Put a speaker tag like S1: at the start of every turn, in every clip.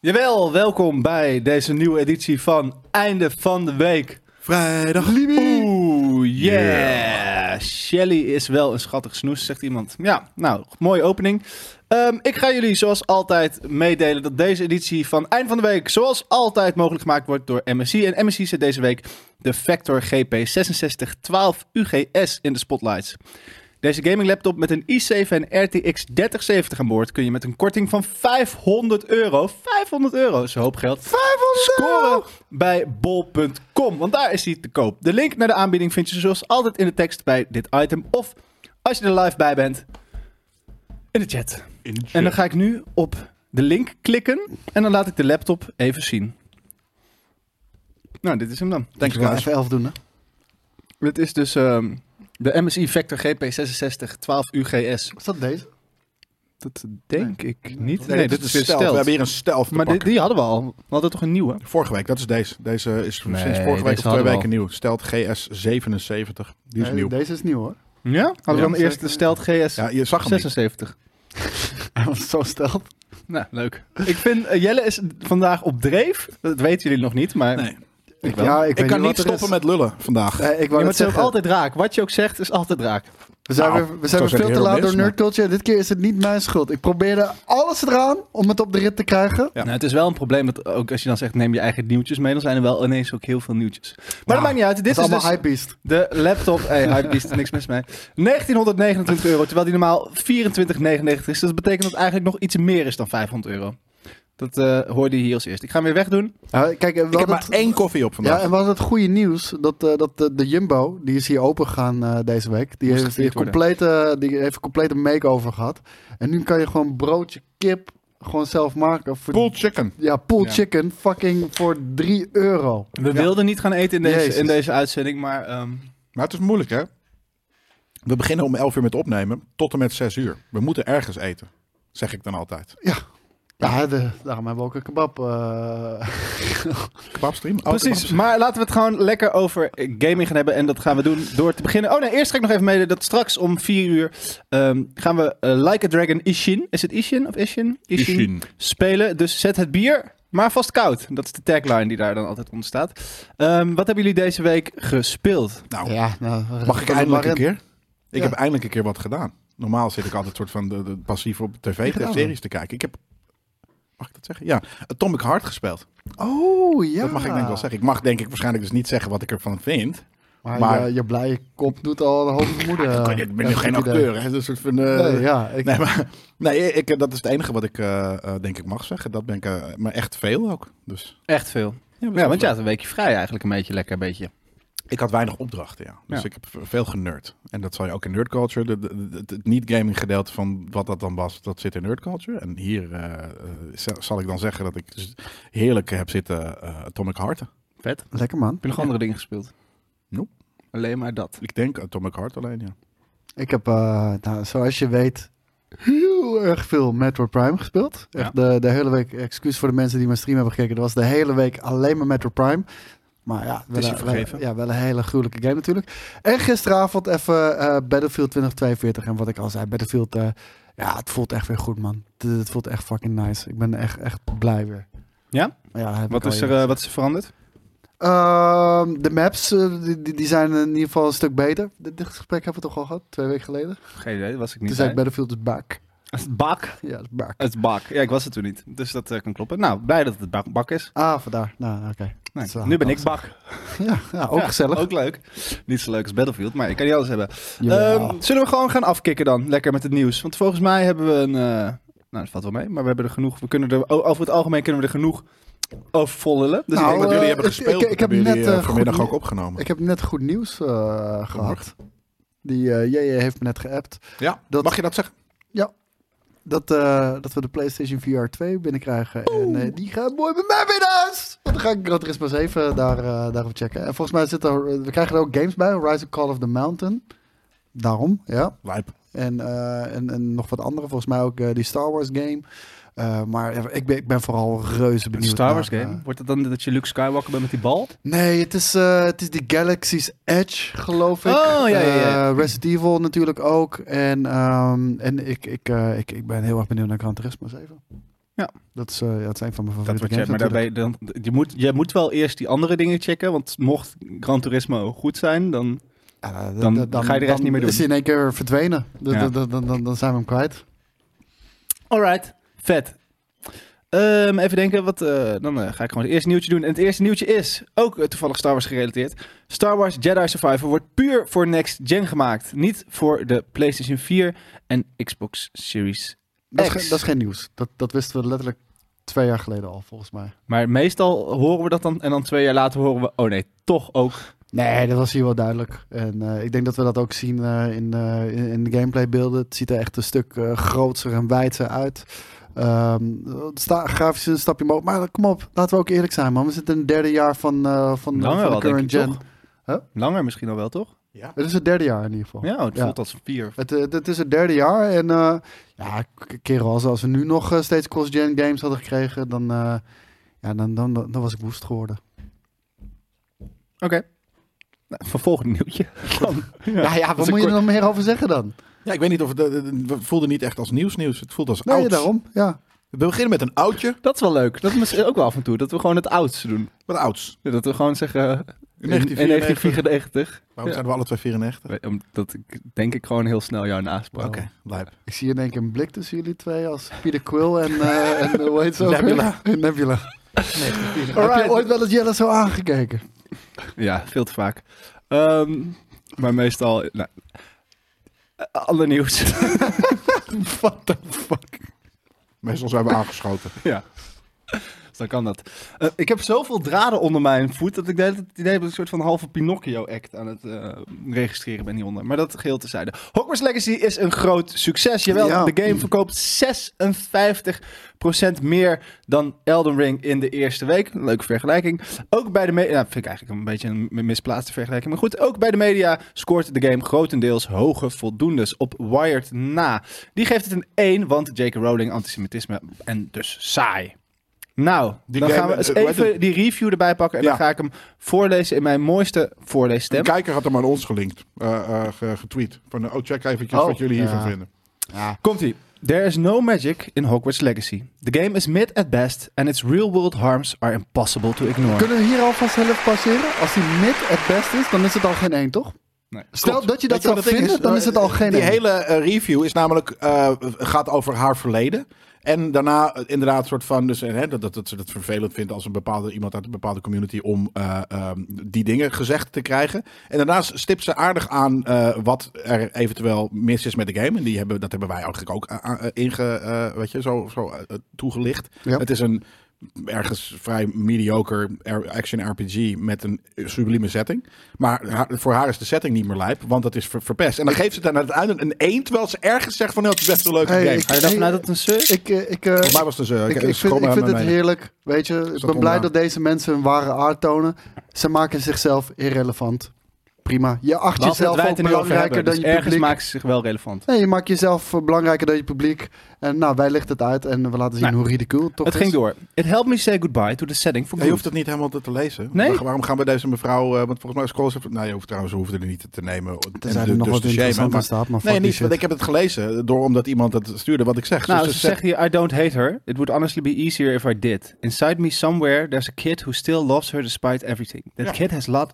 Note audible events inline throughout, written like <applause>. S1: Jawel, welkom bij deze nieuwe editie van Einde van de Week.
S2: Vrijdag.
S1: Oeh, yeah.
S2: Yeah.
S1: Shelly is wel een schattig snoes, zegt iemand. Ja, nou, mooie opening. Ehm, ik ga jullie zoals altijd meedelen dat deze editie van Eind van de Week zoals altijd mogelijk gemaakt wordt door MSI. En MSI zet deze week de Vector GP6612 UGS in de spotlights. Deze gaming laptop met een i7 en RTX 3070 aan boord kun je met een korting van 500 euro, 500 euro is een hoop geld, scoren bij bol.com, want daar is die te koop. De link naar de aanbieding vind je zoals altijd in de tekst bij dit item of als je er live bij bent in de chat. En dan ga ik nu op de link klikken en dan laat ik de laptop even zien. Nou, dit is hem dan.
S2: Denk je wel even elf doen, hè?
S1: Dit is dus ehm, de MSI Vector GP66 12UGS.
S2: Is dat deze?
S1: Dat denk ik niet.
S2: Nee, dit is een
S1: weer
S2: stealth. We
S1: stealth.
S2: hebben hier een stealth te
S1: Maar die,
S2: pakken.
S1: die hadden we al. We hadden toch een nieuwe?
S2: Vorige week, dat is deze. Deze is
S1: Nee,
S2: sinds vorige
S1: deze
S2: week of twee
S1: hadden we
S2: weken
S1: al.
S2: nieuw. Stelt GS77. Die is
S3: Nee,
S2: nieuw.
S3: Deze is nieuw hoor. <laughs>
S1: Ja? Hadden we
S2: Ja,
S1: dan eerst de Stealth GS
S2: Ja, je zag hem niet.
S1: 76.
S3: Want het zo stelt.
S1: Nou, leuk. Ik vind, eh, Jelle is vandaag op dreef. Dat weten jullie nog niet, maar...
S2: Nee.
S1: Ik wel.
S3: ja, ik,
S2: Ik
S3: weet
S2: kan
S3: wat
S2: niet
S3: er is. Eh,
S2: stoppen met lullen vandaag.
S3: Nee, ik
S1: Ja,
S3: wou
S1: maar
S3: net
S1: het is ook
S3: zeggen.
S1: altijd raak. Wat je ook zegt, is altijd raak.
S3: We zijn
S2: Nou,
S3: weer, we
S2: het
S3: zijn
S2: was
S3: weer
S2: ook
S3: veel te
S2: heel
S3: laat door
S2: mis,
S3: Nerd Culture. Dit keer is het niet mijn schuld. Ik probeerde alles eraan om het op de rit te krijgen.
S2: Ja.
S1: Nou, het is wel een probleem dat ook als je dan zegt neem je eigen nieuwtjes mee, dan zijn er wel ineens ook heel veel nieuwtjes. Maar dat
S2: Nou,
S1: maakt niet uit. Dit
S3: Dit
S1: is
S3: is allemaal
S1: dus
S3: hypebeast.
S1: de laptop. Hey, hype is er niks mis mee. 1929 euro, terwijl die normaal 24,99 is. Dat betekent dat eigenlijk nog iets meer is dan 500 euro. Dat eh, hoorde je hier als eerst. Ik ga hem weer wegdoen.
S3: Ja, kijk, we
S2: Ik heb
S3: hadden
S2: maar
S3: het,
S2: één koffie op
S3: ja, en
S2: vandaag.
S3: we hadden het goede nieuws dat, eh, dat eh, de Jumbo, die is hier open gegaan eh, deze week. Die
S1: Moest
S3: heeft, die,
S1: gevierd
S3: heeft complete, eh, die heeft een complete makeover gehad. En nu kan je gewoon broodje kip gewoon zelf maken. Voor,
S2: Pulled chicken.
S3: Ja, pool
S1: Ja.
S3: chicken fucking voor 3 euro.
S1: We wilden niet gaan eten in deze,
S3: Jezus.
S1: in deze uitzending, maar ehm,
S2: Maar het is moeilijk, hè? We beginnen om 11 uur met opnemen, tot en met 6 uur. We moeten ergens eten, zeg ik dan altijd.
S3: Ja, de, daarom hebben we ook een kebab. eh,
S2: Kebabstream? Oh,
S1: Precies,
S2: kebabstream.
S1: maar laten we het gewoon lekker over eh, gaming gaan hebben. En dat gaan we doen door te beginnen. Oh nee, eerst ga ik nog even mede dat straks om 4 uur ehm, gaan we eh, Like a Dragon Ishin. Is het Ishin of Ishin?
S2: Ishin.
S1: Spelen. Dus zet het bier, maar vast koud. Dat is de tagline die daar dan altijd onder staat. Ehm, wat hebben jullie deze week gespeeld?
S2: Nou,
S3: ja, nou,
S2: Mag ik
S3: kan er maar
S2: eindelijk een
S3: in.
S2: keer? Ik
S3: Ja.
S2: heb eindelijk een keer wat gedaan. Normaal zit ik altijd soort van de, de- passief op tv
S3: gedaan
S2: te,
S3: dan?
S2: series te kijken. Ik heb, mag ik dat zeggen? Ja, Atomic Heart gespeeld.
S3: Oh ja.
S2: Dat mag ik denk ik wel zeggen. Ik mag denk ik waarschijnlijk dus niet zeggen wat ik ervan vind.
S3: Maar,
S2: Maar-
S3: je, je blije kop doet al een hoop vermoeden.
S2: Oh, Ik kan-
S3: eh,
S2: ik ben
S3: een
S2: nu
S3: goed
S2: geen
S3: idee.
S2: acteur. Hè? Dus soort van, eh,
S3: Nee, ja, ik,
S2: nee, maar, nee ik, dat is het enige wat ik eh, eh, denk ik mag zeggen. Dat ben ik, eh, maar echt veel ook. Dus,
S1: Echt veel.
S2: ja, dat is
S1: Ja, want
S2: wel-
S1: je had een weekje vrij eigenlijk. Een beetje lekker, een beetje.
S2: Ik had weinig opdrachten, ja. Dus
S1: Ja.
S2: ik heb v- veel generd. En dat zal je ook in nerd culture. de- de- de- Het niet-gaming gedeelte van wat dat dan was, dat zit in nerd culture. En hier eh, eh, z- zal ik dan zeggen dat ik dus heerlijk heb zitten eh Atomic Heart.
S1: Vet. Heb
S3: lekker man.
S1: je nog andere dingen gespeeld?
S2: Nope.
S1: Alleen maar dat.
S2: Ik denk Atomic Heart alleen, ja.
S3: Ik heb, eh, nou, zoals je weet, heel erg veel Metroid Prime gespeeld.
S1: Ja.
S3: Echt de, de hele week, excuus voor de mensen die mijn stream hebben gekeken, dat was de hele week alleen maar Metroid Prime. Maar ja, wel,
S1: is je
S3: een- wel-
S1: vergeven.
S3: ja, wel een hele gruwelijke game natuurlijk. En gisteravond even eh, Battlefield 2042. En wat ik al zei, Battlefield, eh, ja, het voelt echt weer goed, man. Het, het voelt echt fucking nice. Ik ben echt, echt blij weer.
S1: Ja?
S3: ja heb ik
S1: Wat
S3: al
S1: is
S3: eerder
S1: er, eh, wat is er veranderd?
S3: Ehm, de maps, eh, die, die- die zijn in ieder geval een stuk beter. Dit, dit gesprek hebben we toch al gehad, twee weken geleden?
S1: Geen idee, was ik
S3: Toen
S1: niet
S3: zei ik Battlefield is back.
S1: Bak.
S3: <laughs> Ja, is back.
S1: Het bak. Ja, ik was het toen niet. Dus dat eh, kan kloppen. Nou, blij dat het bak, bak is.
S3: Ah, vandaar. Nou, oké.
S1: Nee,
S3: Dat is wel
S1: nu ben ik
S3: fantastisch.
S1: bak.
S3: <laughs> Ja, ja, ook
S1: Ja,
S3: gezellig.
S1: Ook leuk. Niet zo leuk als Battlefield, maar ik kan die alles hebben.
S3: Jawel.
S1: Ehm, zullen we gewoon gaan afkicken dan? Lekker met het nieuws. Want volgens mij hebben we een... eh, nou, dat valt wel mee. Maar we hebben er genoeg... We kunnen er, o- over het algemeen kunnen we er genoeg over vol lullen. Dus
S3: Nou,
S1: ik
S2: wat
S1: denk dat
S3: eh,
S2: jullie hebben
S3: ik-
S2: gespeeld,
S3: ik- ik
S2: hebben
S3: heb
S2: jullie
S3: net,
S2: eh,
S3: eh,
S2: vanmiddag
S3: goed-
S2: ook opgenomen.
S3: Ik heb net goed nieuws eh, gehad. Die eh JJ heeft me net geappt.
S2: ja,
S3: dat-
S2: mag je dat zeggen?
S3: Dat, eh, dat we de PlayStation VR 2 binnenkrijgen. En eh, die gaat mooi bij mij mee naar huis. Want dan ga ik Gran Turismo 7 daar, eh, daarop checken. En volgens mij zitten er, eh, we krijgen er ook games bij. Horizon Call of the Mountain. Daarom, ja.
S2: Lijp.
S3: En, eh, en, en nog wat andere. Volgens mij ook eh, die Star Wars game. Eh, maar ja, ik ben, ik ben vooral reuze
S1: Een
S3: benieuwd.
S1: Star Wars
S3: naar,
S1: game.
S3: eh,
S1: Wordt het dan dat je Luke Skywalker bent met die bal?
S3: Nee, het is, eh, het is die Galaxy's Edge, geloof ik.
S1: Oh, ja, ja, ja.
S3: Eh, Resident Evil natuurlijk ook. En, ehm, en ik, ik, eh, ik, ik ben heel erg benieuwd naar Gran Turismo 7.
S1: Ja.
S3: Dat is, eh, ja, het is een van mijn
S1: Dat
S3: favoriete
S1: wordt je,
S3: games
S1: maar
S3: natuurlijk.
S1: daarbij, dan, je, moet, je moet wel eerst die andere dingen checken. Want mocht Gran Turismo goed zijn, dan
S3: Ja, d- d-
S1: Dan ga je de rest niet meer doen.
S3: is hij in één keer verdwenen. D-
S1: Ja.
S3: d- d- Dan, dan, dan zijn we hem kwijt.
S1: Alright, vet. Ehm, even denken, wat, eh, dan eh, ga ik gewoon het eerste nieuwtje doen. En het eerste nieuwtje is, ook eh, toevallig Star Wars gerelateerd. Star Wars Jedi Survivor wordt puur voor Next Gen gemaakt. Niet voor de PlayStation 4 en Xbox Series.
S3: Dat is,
S1: Ex.
S3: geen- dat is geen nieuws. Dat, dat wisten we letterlijk twee jaar geleden al, volgens mij.
S1: Maar meestal horen we dat dan en dan twee jaar later horen we, oh nee, toch ook.
S3: Nee, dat was hier wel duidelijk. En eh, ik denk dat we dat ook zien eh, in, eh, in, in de gameplaybeelden. Het ziet er echt een stuk eh groter en wijder uit. Ehm sta, grafisch een stapje omhoog. Maar kom op, laten we ook eerlijk zijn, man. We zitten in het derde jaar van, eh van,
S1: Langer
S3: van
S1: wel, denk
S3: de current
S1: ik,
S3: gen.
S1: toch?
S3: Huh?
S1: Langer misschien al wel, toch?
S3: Het is het derde jaar in ieder geval.
S1: Ja, het
S3: Ja.
S1: voelt als vier.
S3: Het, eh, dit is het derde jaar en eh, ja, k- kerel, als, als we nu nog eh, steeds cross-gen games hadden gekregen, dan, eh, ja, dan, dan, dan, was ik woest geworden.
S1: Oké. Nou, vervolgend nieuwtje. Dan.
S3: Ja, ja,
S1: is
S3: wat
S1: een
S3: moet je er
S1: kort-
S3: nog meer over zeggen dan?
S2: Ja, ik weet niet of het, eh, het het voelde niet echt als nieuws nieuws. Het voelde als
S3: Nee,
S2: ouds.
S3: daarom. Ja.
S2: We beginnen met een oudje,
S1: Dat is wel leuk. Dat is ook wel af en toe, dat we gewoon het oudste doen.
S2: wat ouds.
S1: Dat we gewoon zeggen, eh, in
S2: 1994.
S1: 1994.
S2: Waarom zijn we alle twee 94?
S1: Weet- Omdat ik denk ik gewoon heel snel jou naspraak.
S2: Oké, lijp.
S3: Ik zie in één keer een blik tussen jullie twee als Peter Quill en, eh en eh, hoe heet ze ook?
S2: Nebula.
S3: En <laughs> Nebula. Heb je ooit wel eens Jelle zo aangekeken?
S1: Ja, veel te vaak. Ehm, maar meestal... Nou, eh, ander nieuws.
S3: <laughs> What the fuck?
S2: Meestal zijn we aangeschoten.
S1: <laughs> ja. Dus dan kan dat. Eh, ik heb zoveel draden onder mijn voet dat ik de hele tijd het idee heb dat ik een soort van halve Pinocchio-act aan het eh, registreren ben hieronder. Maar dat geheel tezijde. Hogwarts Legacy is een groot succes. Jawel,
S3: Ja.
S1: de game verkoopt 56% meer dan Elden Ring in de eerste week. Een leuke vergelijking. Ook bij de media, nou, vind ik eigenlijk een beetje een misplaatste vergelijking. Maar goed, ook bij de media scoort de game grotendeels hoge voldoendes op Wired na. Die geeft het een 1, want J.K. Rowling antisemitisme en dus saai. Nou,
S2: Die
S1: dan
S2: game-
S1: gaan we eens
S2: eh, hoe heet
S1: even
S2: het?
S1: die review erbij pakken en
S2: Ja.
S1: dan ga ik hem voorlezen in mijn mooiste
S2: De
S1: voorleesstem.
S2: kijker had hem aan ons gelinkt, eh, eh, ge- getweet. Van, eh, oh, check eventjes
S3: Oh,
S2: wat jullie hiervan
S3: ja.
S2: vinden.
S1: Komt-ie. There is no magic in Hogwarts Legacy. The game is mid at best and its real-world harms are impossible to ignore.
S3: Kunnen we hier alvast zelf passeren? Als die mid het best is, dan is het al geen één, toch?
S1: Nee.
S3: Stel
S2: Klopt.
S3: dat je dat
S2: Weet je wat
S3: zou
S2: het ding
S3: vinden, dan is het al geen
S2: Die
S3: één.
S2: hele eh, review is namelijk, eh, gaat over haar verleden. En daarna eh, inderdaad een soort van, dus, eh, hè, dat, dat, dat ze het vervelend vindt als een bepaalde, iemand uit een bepaalde community om eh, ehm, die dingen gezegd te krijgen. En daarnaast stipt ze aardig aan eh, wat er eventueel mis is met de game. En die hebben, dat hebben wij eigenlijk ook eh, eh, inge, eh, weet je, zo, zo eh, eh, toegelicht.
S3: Ja.
S2: Het is een ergens vrij mediocre R- action RPG met een sublieme setting. Maar ha- voor haar is de setting niet meer lijp, want dat is ver- verpest. En dan geeft ze daar naar het einde een 1, terwijl ze ergens zegt van, "Nou, het is best een leuke
S3: Hey,
S2: game.
S3: ik-
S1: Ga je dan vanuit dat het een search?
S3: Ik, eh, ik, eh,
S2: Voor mij was het dus... eh,
S3: Ik, ik vind,
S2: schroom
S3: ik
S2: aan
S3: vind het
S2: mijn mening.
S3: heerlijk. Weet je, ik ben blij
S2: onderaan?
S3: dat deze mensen hun ware aard tonen. Ze maken zichzelf irrelevant. Prima. Je acht
S1: Laten we het
S3: jezelf
S1: wij
S3: ook
S1: het er nu over hebben,
S3: belangrijker dan
S1: dus
S3: je
S1: ergens
S3: publiek.
S1: maken ze zich wel relevant.
S3: Nee, je maakt jezelf eh, belangrijker dan je publiek. En nou, wij lichten het uit en we laten zien
S1: Nou,
S3: hoe ridicule het toch
S1: het
S3: is.
S1: ging door. It helped me say goodbye to the setting for
S2: Ja, je
S1: good.
S2: hoeft het niet helemaal te, te lezen.
S1: Nee?
S2: Waar- waarom gaan we deze mevrouw... eh, want volgens mij is Scrolls... even- Nou, je hoeft trouwens, we hoeven er niet te- te nemen.
S3: Er
S2: en
S3: zijn
S2: de-
S3: er nog
S2: dus
S3: wat
S2: te shamen,
S3: interessant aan
S2: maar-
S3: staat, maar fuck
S2: Nee,
S3: die
S2: niet,
S3: shit.
S2: want ik heb het gelezen door omdat iemand het stuurde wat ik zeg.
S1: Nou,
S2: Dus
S1: ze
S2: ze
S1: zegt hier, I don't hate her. It would honestly be easier if I did. Inside me somewhere, there's a kid who still loves her despite everything. That
S2: Ja.
S1: kid has, lot,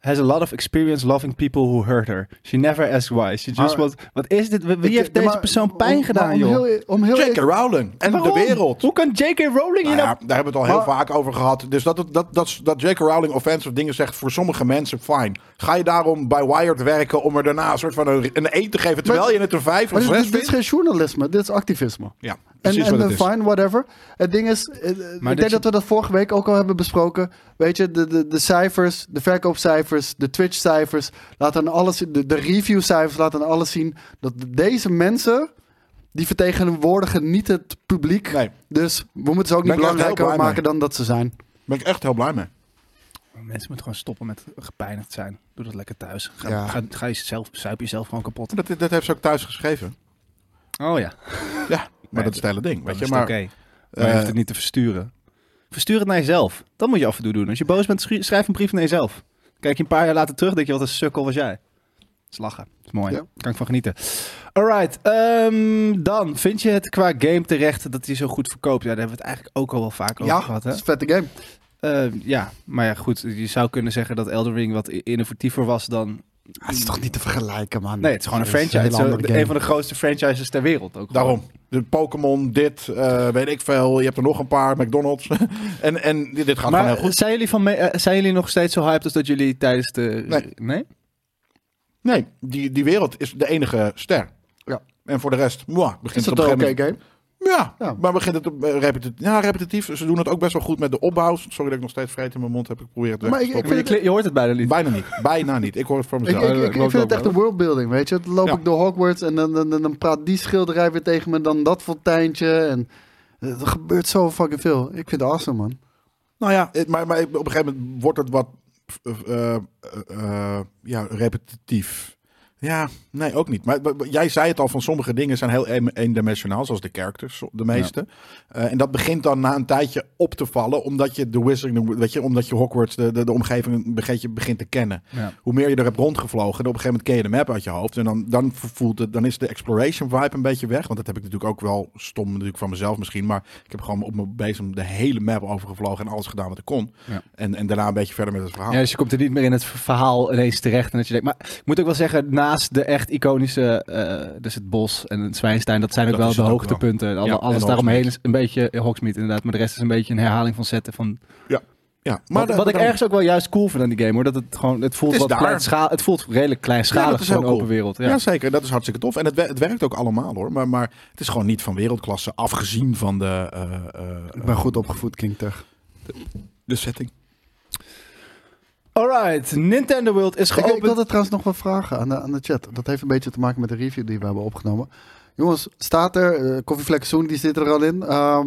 S1: has a lot of experience loving people who hurt her. She never asks why. She just
S2: Maar-
S1: was... Wat is dit? Wie
S3: Ik-
S1: heeft
S3: ja,
S1: deze
S3: maar
S1: persoon
S3: om-
S1: pijn
S3: maar
S1: gedaan,
S3: om
S1: joh?
S3: Heel, e- om heel
S2: J.K. Rowling en
S1: Waarom?
S2: de wereld.
S1: Hoe kan J.K. Rowling hier
S2: Nou ja,
S1: nou...
S2: daar hebben we het al heel
S3: Maar-
S2: vaak over gehad. Dus dat, dat, dat, dat, dat J.K. Rowling offensive dingen zegt voor sommige mensen, fijn. Ga je daarom bij Wired werken om er daarna een soort van een, een één te geven, terwijl
S3: Maar-
S2: je het een vijf
S3: maar
S2: of
S3: dit,
S2: zes
S3: dit, dit is
S2: vindt?
S3: geen journalisme, dit is activisme.
S2: Ja,
S3: En,
S2: precies
S3: en
S2: wat
S3: eh,
S2: het is.
S3: fine, whatever. Het ding is, eh, eh, ik
S1: dat
S3: denk
S1: je-
S3: dat we dat vorige week ook al hebben besproken. Weet je, de, de, de cijfers, de verkoopcijfers, de Twitch-cijfers, laten aan alles, de, de review-cijfers laten aan alles zien dat deze mensen, die vertegenwoordigen niet het publiek.
S2: Nee,
S3: Dus we moeten ze ook
S2: Ben
S3: niet
S2: ik echt
S3: belangrijker
S2: heel blij
S3: maken dan dat ze zijn.
S2: ben ik echt heel blij mee.
S1: Mensen moeten gewoon stoppen met gepijnigd zijn. Doe dat lekker thuis. Ga,
S3: Ja.
S1: ga, ga jezelf, zuip jezelf gewoon kapot.
S2: Dat, dat heeft ze ook thuis geschreven.
S1: Oh ja,
S2: Ja, maar dat is het hele ding.
S1: Dan
S2: Weet
S1: is
S2: je,
S1: het
S2: maar,
S1: oké.
S2: eh,
S1: Maar je hoeft het niet te versturen. Verstuur het naar jezelf. Dat moet je af en toe doen. Als je boos bent, schrie- schrijf een brief naar jezelf. Kijk je een paar jaar later terug, denk je, wat een sukkel was jij. is lachen. is mooi.
S3: Ja.
S1: Kan ik van genieten. Alright, ehm, dan vind je het qua game terecht dat hij zo goed verkoopt? Ja, daar hebben we het eigenlijk ook al wel vaak over
S3: Ja,
S1: gehad. Hè?
S3: dat is een vette game.
S1: Eh, ja, maar ja, goed. Je zou kunnen zeggen dat Elden Ring wat i- innovatiever was dan.
S3: Dat Ah, is toch niet te vergelijken, man.
S1: Nee, het is gewoon een
S3: Dat
S1: franchise.
S3: hele
S1: Zo,
S3: andere
S1: de-
S3: game.
S1: een van de grootste franchises ter wereld ook. gewoon.
S2: Daarom. De Pokémon, dit, eh, weet ik veel. Je hebt er nog een paar, McDonald's. <laughs> en, en dit, dit gaat
S1: maar
S2: gewoon heel goed.
S1: Zijn, jullie van me- eh, zijn jullie nog steeds zo hyped als dat jullie tijdens de.
S2: Nee. Nee, die, die wereld is de enige ster.
S3: Ja.
S2: En voor de rest, mwah, begint
S3: Is
S2: het
S3: dat
S2: op een
S3: een
S2: gegeven
S3: oké
S2: moment...
S3: game?
S2: Ja,
S3: Ja.
S2: maar begint het op, eh, repetitief. Ja, repetitief. Ze doen het ook best wel goed met de opbouw. Sorry dat ik nog steeds vreet in mijn mond heb. Ik probeer het weg
S3: Maar
S2: te
S3: ik-
S2: stoppen.
S1: Maar je,
S3: vind-
S1: kli- je hoort het bijna niet.
S2: Bijna niet. Bijna niet. Ik hoor het voor
S3: Ik,
S2: mezelf.
S3: ik, ik, ik
S1: klopt
S3: vind het
S1: ook
S3: echt een worldbuilding, weet je. Dan loop
S2: Ja.
S3: ik door Hogwarts en dan, dan, dan, dan praat die schilderij weer tegen me, dan dat fonteintje. En eh, er gebeurt zo fucking veel. Ik vind het awesome, man.
S2: Nou ja, het- maar, maar op een gegeven moment wordt het wat eh, eh, eh, ja, repetitief. Ja, nee, ook niet. Maar, maar- maar jij zei het al, van sommige dingen zijn heel een- eendimensionaal, zoals de characters, de meeste. Eh, en dat begint dan na een tijdje op te vallen, omdat je de Wizarding, weet je, omdat je Hogwarts, de, de, de omgeving, een beetje begint te kennen.
S1: Ja.
S2: Hoe meer je er hebt rondgevlogen, op een gegeven moment ken je de map uit je hoofd. En dan, dan voelt het, dan is de exploration vibe een beetje weg. Want dat heb ik natuurlijk ook wel stom natuurlijk van mezelf misschien. Maar ik heb gewoon op mijn bezem de hele map overgevlogen en alles gedaan wat ik kon.
S1: Ja.
S2: En, en daarna een beetje verder met het verhaal.
S1: Ja, dus je komt er niet meer in het verhaal ineens terecht. En dat je denkt, maar ik moet ook wel zeggen, naast de echt iconische, eh, dus het bos en het Zwijnstein, dat zijn ook
S2: Dat
S1: wel
S2: is
S1: de
S2: het ook
S1: hoogtepunten. Alle-
S2: Ja, en
S1: alles
S2: Hogsmeade.
S1: daaromheen is een beetje eh, Hogsmeade inderdaad, maar de rest is een beetje een herhaling van zetten van...
S2: Ja, maar
S1: Maar wat,
S2: dat-
S1: wat ik
S2: dat-
S1: ergens ook wel juist cool vind aan die game, hoor. Dat het gewoon, het voelt
S2: Het is
S1: wat
S2: daar.
S1: kleinschalig, het voelt redelijk
S2: Ja,
S1: kleinschalig
S2: dat is
S1: voor een
S2: heel cool.
S1: open wereld. Ja.
S2: Ja. zeker. Dat is hartstikke tof. En het, wer- het werkt ook allemaal hoor. Maar, maar het is gewoon niet van wereldklasse, afgezien van de, eh, eh,
S3: Ik ben goed opgevoed, King Tug.
S2: de setting.
S1: Alright, Nintendo World is
S3: Ik, ik
S1: geopend.
S3: wilde trouwens nog wat vragen aan de, aan de chat. Dat heeft een beetje te maken met de review die we hebben opgenomen. Jongens, staat er, eh Coffee Zoen, die zit er al in. Ehm,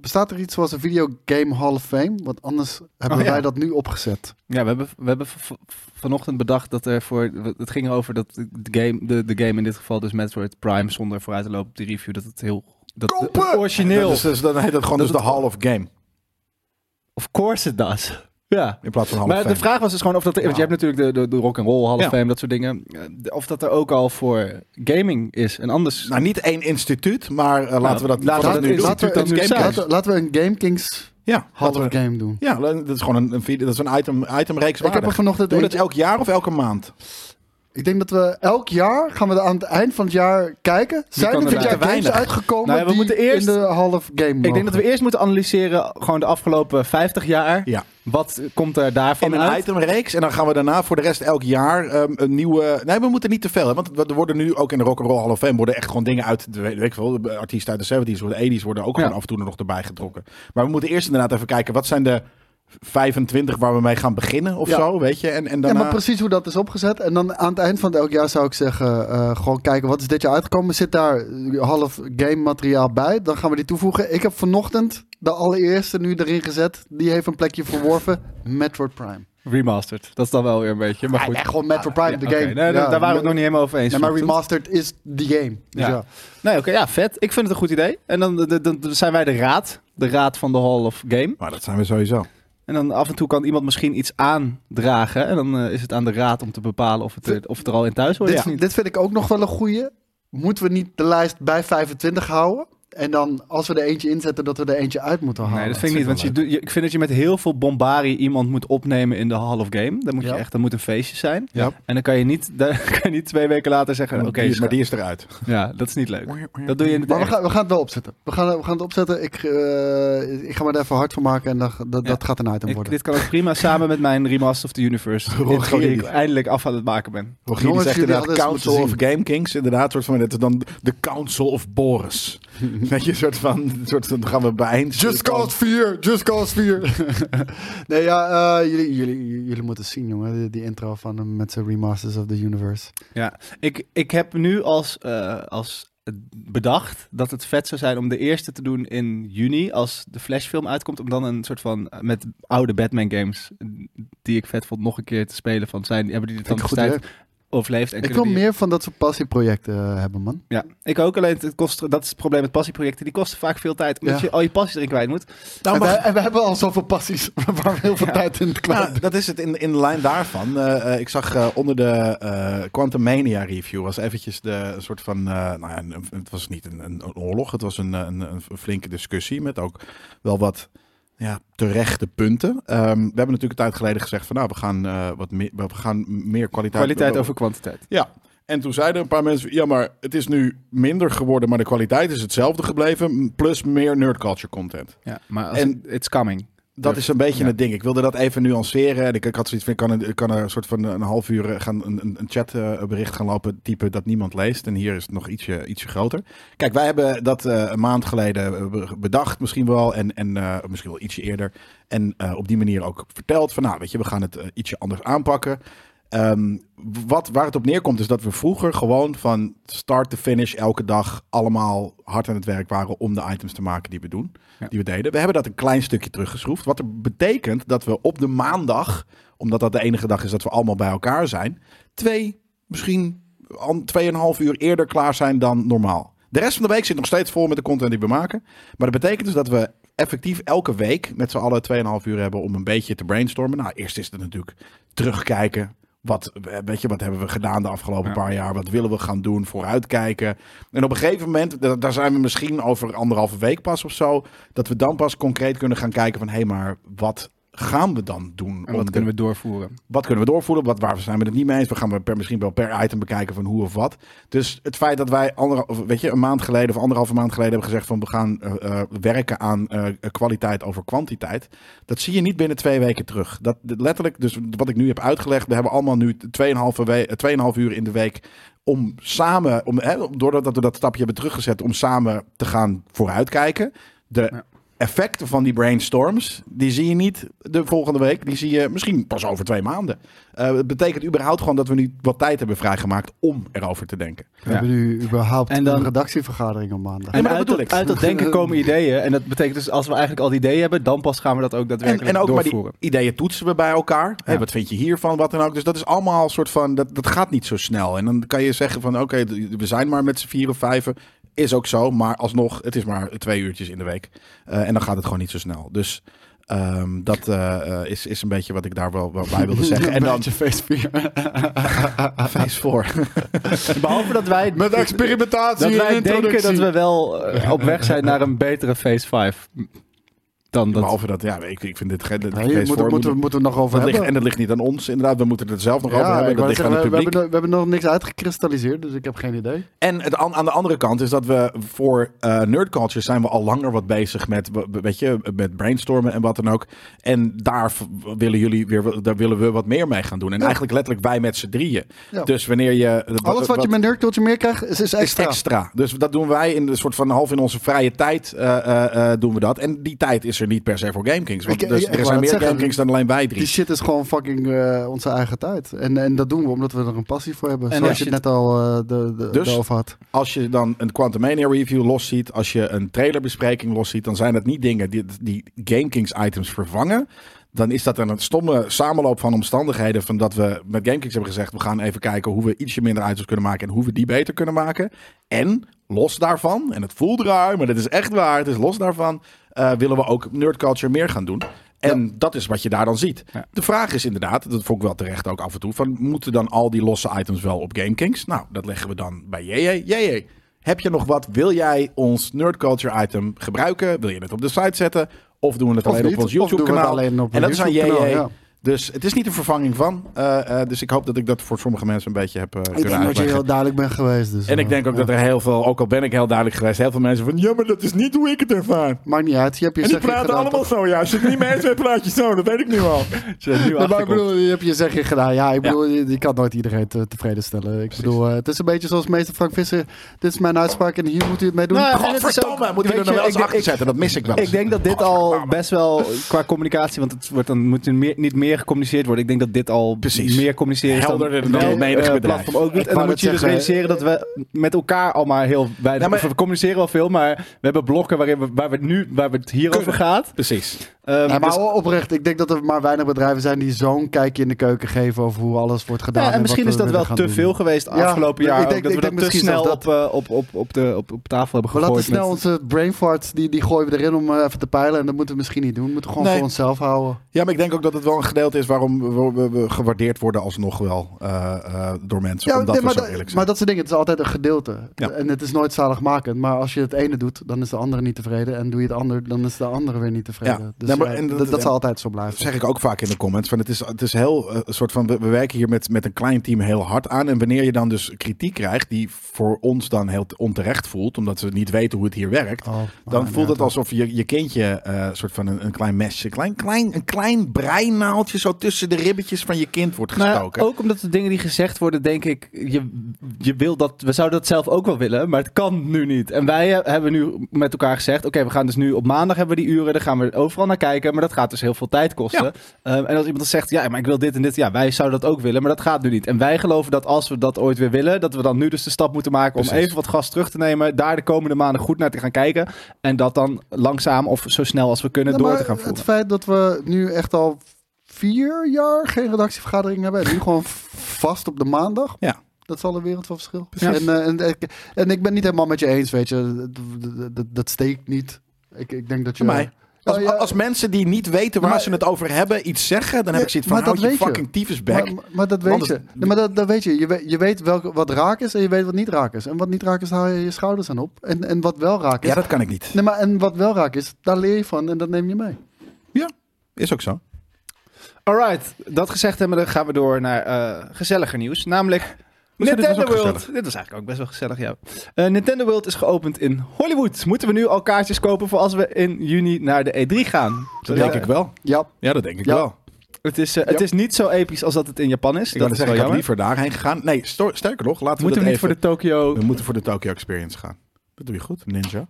S3: bestaat er iets zoals een videogame Hall of Fame? Want anders hebben
S1: Oh, ja.
S3: wij dat nu opgezet.
S1: Ja, we hebben, we hebben v- v- vanochtend bedacht dat er voor. Het ging erover dat de game, de, de game in dit geval, dus Metroid Prime, zonder vooruit te lopen op de review, dat het heel. Dat
S2: Kopen!
S1: het origineel.
S2: Dat is, dus, dan heet dat gewoon
S1: Dat
S2: dus de
S1: het-
S2: Hall of Game.
S1: Of course it does. Ja.
S2: In plaats van Hall
S1: Maar
S2: of
S1: de
S2: Fame.
S1: vraag was dus gewoon of dat. er- Want je hebt natuurlijk de, de, de rock and roll, half
S2: Ja.
S1: fame, dat soort dingen. Eh, de- Of dat er ook al voor gaming is. En anders.
S2: Nou, niet één instituut, maar eh, laten we dat,
S1: Nou, laten we
S2: vanaf
S1: dat
S2: nu doen.
S1: instituut
S3: Laten we,
S1: dan nu
S3: een-
S1: zijn.
S3: laten, laten we een Game Kings
S2: Ja,
S3: Hall
S2: laten
S3: of
S2: we-
S3: Game doen.
S2: Ja, dat is gewoon een, een, video- dat is een item, itemreeks
S3: Ik heb er
S2: waardig.
S3: vanochtend
S2: Doe je dat
S3: eentje-
S2: elk jaar of elke maand?
S3: Ik denk dat we elk jaar gaan we aan het eind van het jaar kijken. Zijn
S1: kan
S3: er dit
S1: er
S3: jaar
S2: te
S3: games
S2: weinig?
S3: uitgekomen
S1: Nou ja, we
S3: die
S1: moeten eerst-
S3: in de half game
S1: Ik denk dat we
S3: mogen?
S1: eerst moeten analyseren, gewoon de afgelopen 50 jaar.
S2: Ja.
S1: Wat komt er daarvan
S2: In een
S1: uit?
S2: itemreeks. En dan gaan we daarna voor de rest elk jaar ehm, een nieuwe... Nee, we moeten niet te veel. hè, Want we- er worden nu ook in de Rock'n'Roll Hall of Fame... worden echt gewoon dingen uit de, weet ik veel, de artiesten uit de 70s of de 80s... worden ook
S1: Ja.
S2: gewoon af en toe er nog erbij getrokken. Maar we moeten eerst inderdaad even kijken... wat zijn de 25 waar we mee gaan beginnen of
S3: Ja.
S2: zo, weet je? En, en
S3: Ja,
S2: daarna...
S3: maar precies hoe dat is opgezet. En dan aan het eind van elk jaar zou ik zeggen, eh, gewoon kijken wat is dit jaar uitgekomen. Zit daar eh, half game materiaal bij? Dan gaan we die toevoegen. Ik heb vanochtend de allereerste nu erin gezet. Die heeft een plekje verworven. Metroid Prime.
S1: Remastered. Dat is dan wel weer een beetje. Maar
S3: Ah, Ja,
S1: goed.
S3: nee, gewoon Metroid Prime,
S1: Ja,
S3: de
S1: oké.
S3: game.
S1: Nee, nee,
S3: Ja,
S1: daar waren we het nog niet helemaal over eens.
S3: Nee, maar
S1: vanochtend.
S3: remastered is de game. Dus
S1: Ja.
S3: ja.
S1: Nee, oké, ja, vet. Ik vind het een goed idee. En dan, dan, dan- dan zijn wij de raad. De raad van de Hall of Game.
S2: Maar dat zijn we sowieso.
S1: En dan af en toe kan iemand misschien iets aandragen. En dan eh, is het aan de raad om te bepalen of het, er- of het er al in thuis hoort
S3: Dit,
S1: of niet.
S3: dit vind ik ook nog wel een goeie. Moeten we niet de lijst bij 25 houden? En dan, als we er eentje inzetten, dat we er eentje uit moeten halen.
S1: Nee, dat vind ik niet.
S2: vind
S1: Want je,
S2: ik
S1: doet- je- ik vind dat je met heel veel bombarie iemand moet opnemen in de Hall of Game. Dan moet je
S3: Ja.
S1: echt, dat moet een feestje zijn.
S2: Ja.
S1: En dan kan je niet, <laughs> dan kan je niet twee weken later zeggen, oké,
S2: Maar
S3: dus
S2: die- maar
S1: schat.
S2: die is eruit.
S1: ja, dat is niet leuk. Dat doe je in het
S3: Maar we
S1: echt.
S3: gaan, we gaan het wel opzetten. We gaan, we gaan het opzetten. Ik, eh, ik ga me er even hard van maken en dan, dat,
S1: Ja.
S3: dat gaat een item
S1: Ik-
S3: worden.
S1: dit kan ook prima samen met mijn Remaster of the Universe.
S2: Rogier
S1: intro die ik
S2: die-
S1: eindelijk af aan het maken ben.
S2: Rogier die
S3: Jongens,
S2: zegt
S3: jullie
S2: inderdaad
S3: hadden eens
S2: Council of
S3: moeten
S2: Game Kings. Inderdaad, soort van, dat is dan de Council of
S3: <laughs>
S2: Boris. Weet je, soort van, soort van, dan gaan we bijeen.
S3: Just Cause 4, Just Cause 4. <laughs> nee, ja, eh, jullie, jullie, jullie moeten zien, jongen. Die, die intro van hem met zijn remasters of the universe.
S1: Ja, ik, ik heb nu als, eh, als bedacht dat het vet zou zijn om de eerste te doen in juni als de Flashfilm uitkomt. Om dan een soort van eh, met oude Batman games eh, die ik vet vond nog een keer te spelen. Van zijn, hebben die dit
S3: Vind
S1: dan
S3: ik een goed
S1: bestijfd? overleeft. En
S3: Ik wil
S1: kunnen die-
S3: meer van dat soort passieprojecten eh, hebben, man.
S1: Ja, ik ook. Alleen het kost, dat is het probleem met passieprojecten. Die kosten vaak veel tijd, omdat
S3: Ja.
S1: je al je passie erin kwijt moet.
S2: Nou,
S3: en,
S2: maar-
S3: wij- en we hebben al zoveel passies <laughs> waar we heel veel tijd in kwijt.
S2: Nou, dat is het. In, in de lijn daarvan. eh, eh, ik zag eh, onder de eh Quantum Mania review was eventjes de een soort van. eh, nou ja, een- het was niet een, een, een oorlog. Het was een, eh, een, een flinke discussie met ook wel wat ja, terechte punten. Ehm, we hebben natuurlijk een tijd geleden gezegd van nou, we gaan eh, wat meer, we gaan meer kwaliteit.
S1: Kwaliteit over kwantiteit.
S2: Ja. En toen zeiden een paar mensen, ja, maar het is nu minder geworden, maar de kwaliteit is hetzelfde gebleven, plus meer nerdculture content.
S1: Ja, maar als
S2: En-
S1: it's coming.
S2: Dat
S1: Dus,
S2: is een beetje
S1: ja.
S2: het ding. Ik wilde dat even nuanceren. En ik, ik had zoiets van, ik kan, een- ik kan een soort van een half uur eh, gaan, een, een- een chatbericht gaan lopen typen dat niemand leest. En hier is het nog ietsje, ietsje groter. Kijk, wij hebben dat eh, een maand geleden eh, be- bedacht misschien wel. En, en eh, misschien wel ietsje eerder. En eh, op die manier ook verteld van, nou weet je, we gaan het eh, ietsje anders aanpakken. Ehm, wat, waar het op neerkomt is dat we vroeger gewoon van start to finish elke dag allemaal hard aan het werk waren om de items te maken die we doen die we deden. We hebben dat een klein stukje teruggeschroefd. Wat er betekent dat we op de maandag, omdat dat de enige dag is dat we allemaal bij elkaar zijn, twee, misschien an- tweeënhalf uur eerder klaar zijn dan normaal. De rest van de week zit nog steeds vol met de content die we maken. Maar dat betekent dus dat we effectief elke week met z'n allen 2,5 uur hebben om een beetje te brainstormen. Nou, eerst is het natuurlijk terugkijken. Wat, eh, weet je, wat hebben we gedaan de afgelopen paar jaar? Wat willen we gaan doen? Vooruitkijken. En op een gegeven moment, da- daar zijn we misschien over anderhalve week pas of zo, dat we dan pas concreet kunnen gaan kijken van hé, hey, maar wat gaan we dan doen?
S1: En
S2: om
S1: wat
S2: de-
S1: kunnen we doorvoeren?
S2: wat kunnen we doorvoeren? Wat, waar zijn we het niet mee eens? We gaan we per, misschien wel per item bekijken van hoe of wat. Dus het feit dat wij ander, of weet je, een maand geleden of anderhalve maand geleden hebben gezegd van we gaan eh, eh, werken aan eh, kwaliteit over kwantiteit. Dat zie je niet binnen twee weken terug. Dat, dat letterlijk, dus wat ik nu heb uitgelegd, we hebben allemaal nu 2,5 we- eh, 2,5 uur in de week om samen, om, hè, doordat dat we dat stapje hebben teruggezet, om samen te gaan vooruitkijken. De
S1: Ja.
S2: effecten van die brainstorms, die zie je niet de volgende week. Die zie je misschien pas over twee maanden. Eh, het betekent überhaupt gewoon dat we nu wat tijd hebben vrijgemaakt om erover te denken.
S3: We hebben nu überhaupt
S1: En dan-
S3: een redactievergadering op maandag.
S2: maar
S1: En
S2: dat
S1: uit,
S2: bedoel
S1: dat,
S2: ik.
S1: uit dat denken komen ideeën. En dat betekent dus als we eigenlijk al die ideeën hebben, dan pas gaan we dat ook
S2: En,
S1: daadwerkelijk
S2: en ook maar die
S1: doorvoeren.
S2: ideeën toetsen we bij elkaar. Hé, wat vind je hiervan, wat dan ook. Dus dat is allemaal een soort van, dat, dat gaat niet zo snel. En dan kan je zeggen van, oké, d- we zijn maar met z'n vier of vijven. Is ook zo, maar alsnog, het is maar twee uurtjes in de week. Eh, en dan gaat het gewoon niet zo snel. Dus ehm, dat eh, eh, is, is een beetje wat ik daar wel, wel bij wilde zeggen. En dan <laughs> face voor.
S1: <laughs> Behalve dat wij,
S2: Met experimentatie
S1: dat
S2: en
S1: wij denken
S2: introductie.
S1: dat we wel eh, op weg zijn naar een betere Phase 5. Dan dat.
S2: Behalve dat, ja, ik, ik vind dit geen
S3: Ja, Hier
S2: face
S3: moeten,
S2: voor.
S3: moeten, we-
S2: moet-
S3: moeten we het nog over
S2: dat ligt,
S3: hebben.
S2: en dat ligt niet aan ons, inderdaad. We moeten het zelf nog
S3: Ja,
S2: over hebben.
S3: ik
S2: Dat
S3: wou
S2: ligt aan het
S3: zeggen, we, we
S2: publiek.
S3: hebben, we hebben nog niks uitgekristalliseerd, dus ik heb geen idee.
S2: En het, aan, aan de andere kant is dat we voor eh nerd culture zijn we al langer wat bezig met, we- we- weet je, met brainstormen en wat dan ook. En daar v- willen jullie weer, daar willen we wat meer mee gaan doen. En
S3: Ja.
S2: eigenlijk letterlijk wij met z'n drieën.
S3: Ja.
S2: Dus wanneer je...
S3: Alles wat je met nerdculture meer krijgt, is, is
S2: is
S3: extra.
S2: extra. Dus dat doen wij in een soort van half in onze vrije tijd eh, eh, eh, doen we dat. En die tijd is er niet per se voor GameKings. Want
S3: Ik-
S2: dus,
S3: ik- ik
S2: er
S3: wou
S2: zijn
S3: net
S2: meer
S3: zeggen,
S2: GameKings dan alleen wij
S3: Die
S2: drie.
S3: shit is gewoon fucking eh, onze eigen tijd. En, en dat doen we omdat we er een passie voor hebben.
S1: En
S3: zoals
S1: als
S3: je het
S1: je
S3: net al eh, de, de,
S2: Dus-
S3: erover had.
S2: Als je dan een Quantum Mania review los ziet, als je een trailerbespreking los ziet, dan zijn dat niet dingen die, die GameKings items vervangen. Dan is dat een stomme samenloop van omstandigheden. Van dat we met GameKings hebben gezegd: we gaan even kijken hoe we ietsje minder items kunnen maken. En hoe we die beter kunnen maken. En los daarvan, en het voelt raar, maar dat is echt waar. Het is los daarvan. eh, willen we ook nerd culture meer gaan doen. En dat is wat je daar dan ziet.
S1: Ja.
S2: De vraag is inderdaad, dat vond ik wel terecht ook af en toe, van moeten dan al die losse items wel op GameKings? Nou, dat leggen we dan bij JJ. JJ, heb je nog wat? Wil jij ons Nerd Culture item gebruiken? Wil je het op de site zetten? Of doen we het
S3: Of
S2: alleen
S3: niet,
S2: op ons
S3: of doen we het
S2: YouTube kanaal?
S3: alleen op
S2: en dat is aan
S3: YouTube-kanaal,
S2: JJ.
S3: ja.
S2: Dus het is niet een vervanging van. Eh, eh, dus ik hoop dat ik dat voor sommige mensen een beetje heb eh,
S3: Ik
S2: kunnen
S3: denk dat je
S2: uitleggen.
S3: heel duidelijk bent geweest. Dus,
S2: En ik
S3: eh,
S2: denk ook
S3: ja.
S2: dat er heel veel, ook al ben ik heel duidelijk geweest, heel veel mensen van, ja, maar dat is niet hoe ik het ervaar.
S3: Maakt niet uit. Je hebt je
S2: En die
S3: zegje
S2: praten
S3: gedaan.
S2: allemaal
S3: toch?
S2: zo, ja. Als je het niet mee eens bent, praat je zo. Dat weet ik nu al.
S1: Zodat nu
S3: Nee, maar ik
S1: achterkomt.
S3: bedoel, je hebt je zegje gedaan. Ja, ik bedoel, je, je kan nooit iedereen te- tevreden stellen. Ik bedoel, eh, het is een beetje zoals meester Frank Visser. Dit is mijn uitspraak en hier moet u het mee doen.
S1: Nou ja, en het is ook-
S2: Godverdomme, moet je
S1: weet
S2: er nou
S1: je,
S2: wel eens
S1: ik-
S2: achter
S1: ik-
S2: zetten. Dat mis ik wel eens. nou,
S1: Ik denk dat dit al best wel qua communicatie, want het wordt dan moet er meer, niet meer gecommuniceerd worden. Ik denk dat dit al
S2: Precies.
S1: meer communiceren is
S2: Helderder
S1: dan
S2: dan
S1: eh,
S2: menig bedrijf.
S1: platform ook doet.
S3: Ik
S1: En dan
S3: wou
S1: moet
S3: net
S1: je dus
S3: zeggen,
S1: realiseren dat we met elkaar al maar heel weinig.
S2: Ja, maar-
S1: of we communiceren wel veel, maar we hebben blokken waarin we, waar, we het nu, waar we het hier over gaat.
S2: Precies.
S1: Ehm,
S3: Nee, maar
S1: dus-
S3: oprecht, ik denk dat er maar weinig bedrijven zijn die zo'n kijkje in de keuken geven over hoe alles wordt gedaan.
S1: ja, en
S3: eh, wat
S1: misschien
S3: we
S1: is dat
S3: willen
S1: wel
S3: gaan
S1: te
S3: doen.
S1: veel geweest
S3: Ja,
S1: afgelopen
S3: ik
S1: jaar.
S3: denk-
S1: ook, dat
S3: ik
S1: we
S3: denk
S1: dat te
S3: misschien
S1: snel
S3: zelfs
S1: op, eh, op, op, op, de, op, op tafel hebben
S3: We
S1: gegooid.
S3: laten snel
S1: met-
S3: onze brain fart, die, die gooien we erin om eh, even te peilen. En dat moeten we misschien niet doen. We moeten gewoon
S2: Nee.
S3: voor onszelf houden.
S2: Ja, maar ik denk ook dat het wel een gedeelte is waarom we, we- we gewaardeerd worden alsnog wel eh, eh, door mensen.
S3: Ja,
S2: omdat
S3: nee,
S2: we
S3: maar,
S2: zo
S3: dat-
S2: eerlijk zijn.
S3: maar dat soort dingen, het is altijd een gedeelte.
S2: Ja.
S3: En het is nooit zaligmakend. Maar als je het ene doet, dan is de andere niet tevreden. En doe je het ander, dan is de andere weer niet tevreden.
S2: Ja. Dus
S3: Dus
S2: Nee, maar-
S3: eh,
S2: en dat-
S3: dat, dat
S2: en-
S3: zal altijd zo blijven.
S2: Dat zeg ik ook vaak in de comments. Van het, is, het is heel eh, een soort van. We, we werken hier met, met een klein team heel hard aan. En wanneer je dan dus kritiek krijgt, die voor ons dan heel onterecht voelt, omdat we niet weten hoe het hier werkt.
S3: Oh,
S2: Dan
S3: maar
S2: voelt het
S3: inderdaad.
S2: alsof je je kindje eh soort van een, een klein mesje, klein, klein, een klein breinaaltje zo tussen de ribbetjes van je kind wordt
S1: Nou ja,
S2: gestoken.
S3: oh,
S1: ook omdat de dingen die gezegd worden, denk ik, je, je wil dat, we zouden dat zelf ook wel willen, maar het kan nu niet. En wij he- hebben nu met elkaar gezegd, oké, we gaan dus nu op maandag hebben we die uren, daar gaan we overal naar kijken, maar dat gaat dus heel veel tijd kosten.
S2: Ja.
S1: Ehm, en als iemand dan zegt, ja, maar ik wil dit en dit, ja, wij zouden dat ook willen, maar dat gaat nu niet. En wij geloven dat als we dat ooit weer willen, dat we dan nu dus de stap moeten maken om
S2: Precies.
S1: even wat gas terug te nemen, daar de komende maanden goed naar te gaan kijken en dat dan langzaam of zo snel als we kunnen
S3: Ja,
S1: door
S3: maar
S1: te gaan voeren.
S3: Het feit dat we nu echt al vier jaar geen redactievergadering hebben. En nu gewoon vast op de maandag.
S2: Ja.
S3: Dat is al een wereld van verschil.
S2: Precies.
S3: En, eh, en, en, en ik ben niet helemaal met je eens, weet je. Dat, dat- dat, dat steekt niet. Ik, ik denk dat je...
S2: Voor mij. Als,
S3: Oh, ja.
S2: als mensen die niet weten waar
S3: Maar-
S2: ze het over hebben iets zeggen, dan heb ik
S3: Nee,
S2: zoiets van,
S3: maar dat
S2: houd je
S3: weet je.
S2: fucking tyfusbek.
S3: Maar, maar- maar dat weet
S2: Want
S3: je.
S2: het-
S3: Nee, maar dat, dat weet je. Je weet, je weet welke, wat raak is en je weet wat niet raak is. En wat niet raak is, haal je je schouders aan op. En, en wat wel raak is...
S2: Ja, dat kan ik niet.
S3: Nee, maar en wat wel raak is, daar leer je van en dat neem je mee.
S2: Is ook zo.
S1: Alright, dat gezegd hebben, dan gaan we door naar eh, gezelliger nieuws. Namelijk
S2: dit was
S1: Nintendo
S2: ook
S1: World.
S2: gezellig.
S1: Dit was eigenlijk ook best wel gezellig, ja. Eh, Nintendo World is geopend in Hollywood. Moeten we nu al kaartjes kopen voor als we in juni naar de E3 gaan?
S2: Dat
S1: Ja.
S2: denk ik wel.
S3: Ja,
S2: Ja, dat denk ik
S3: Ja.
S2: wel.
S1: Het is, eh, het
S2: Ja.
S1: is niet zo episch als dat het in Japan is.
S2: Ik
S1: dat
S2: wou
S1: is
S2: net zeggen,
S1: wel
S2: ik had
S1: jammer.
S2: liever daarheen gegaan. Nee, sto- sterker nog, laten we,
S1: Moeten we
S2: dat
S1: niet voor
S2: even...
S1: de Tokyo...
S2: We moeten voor de Tokyo Experience gaan. Dat doe je goed, ninja.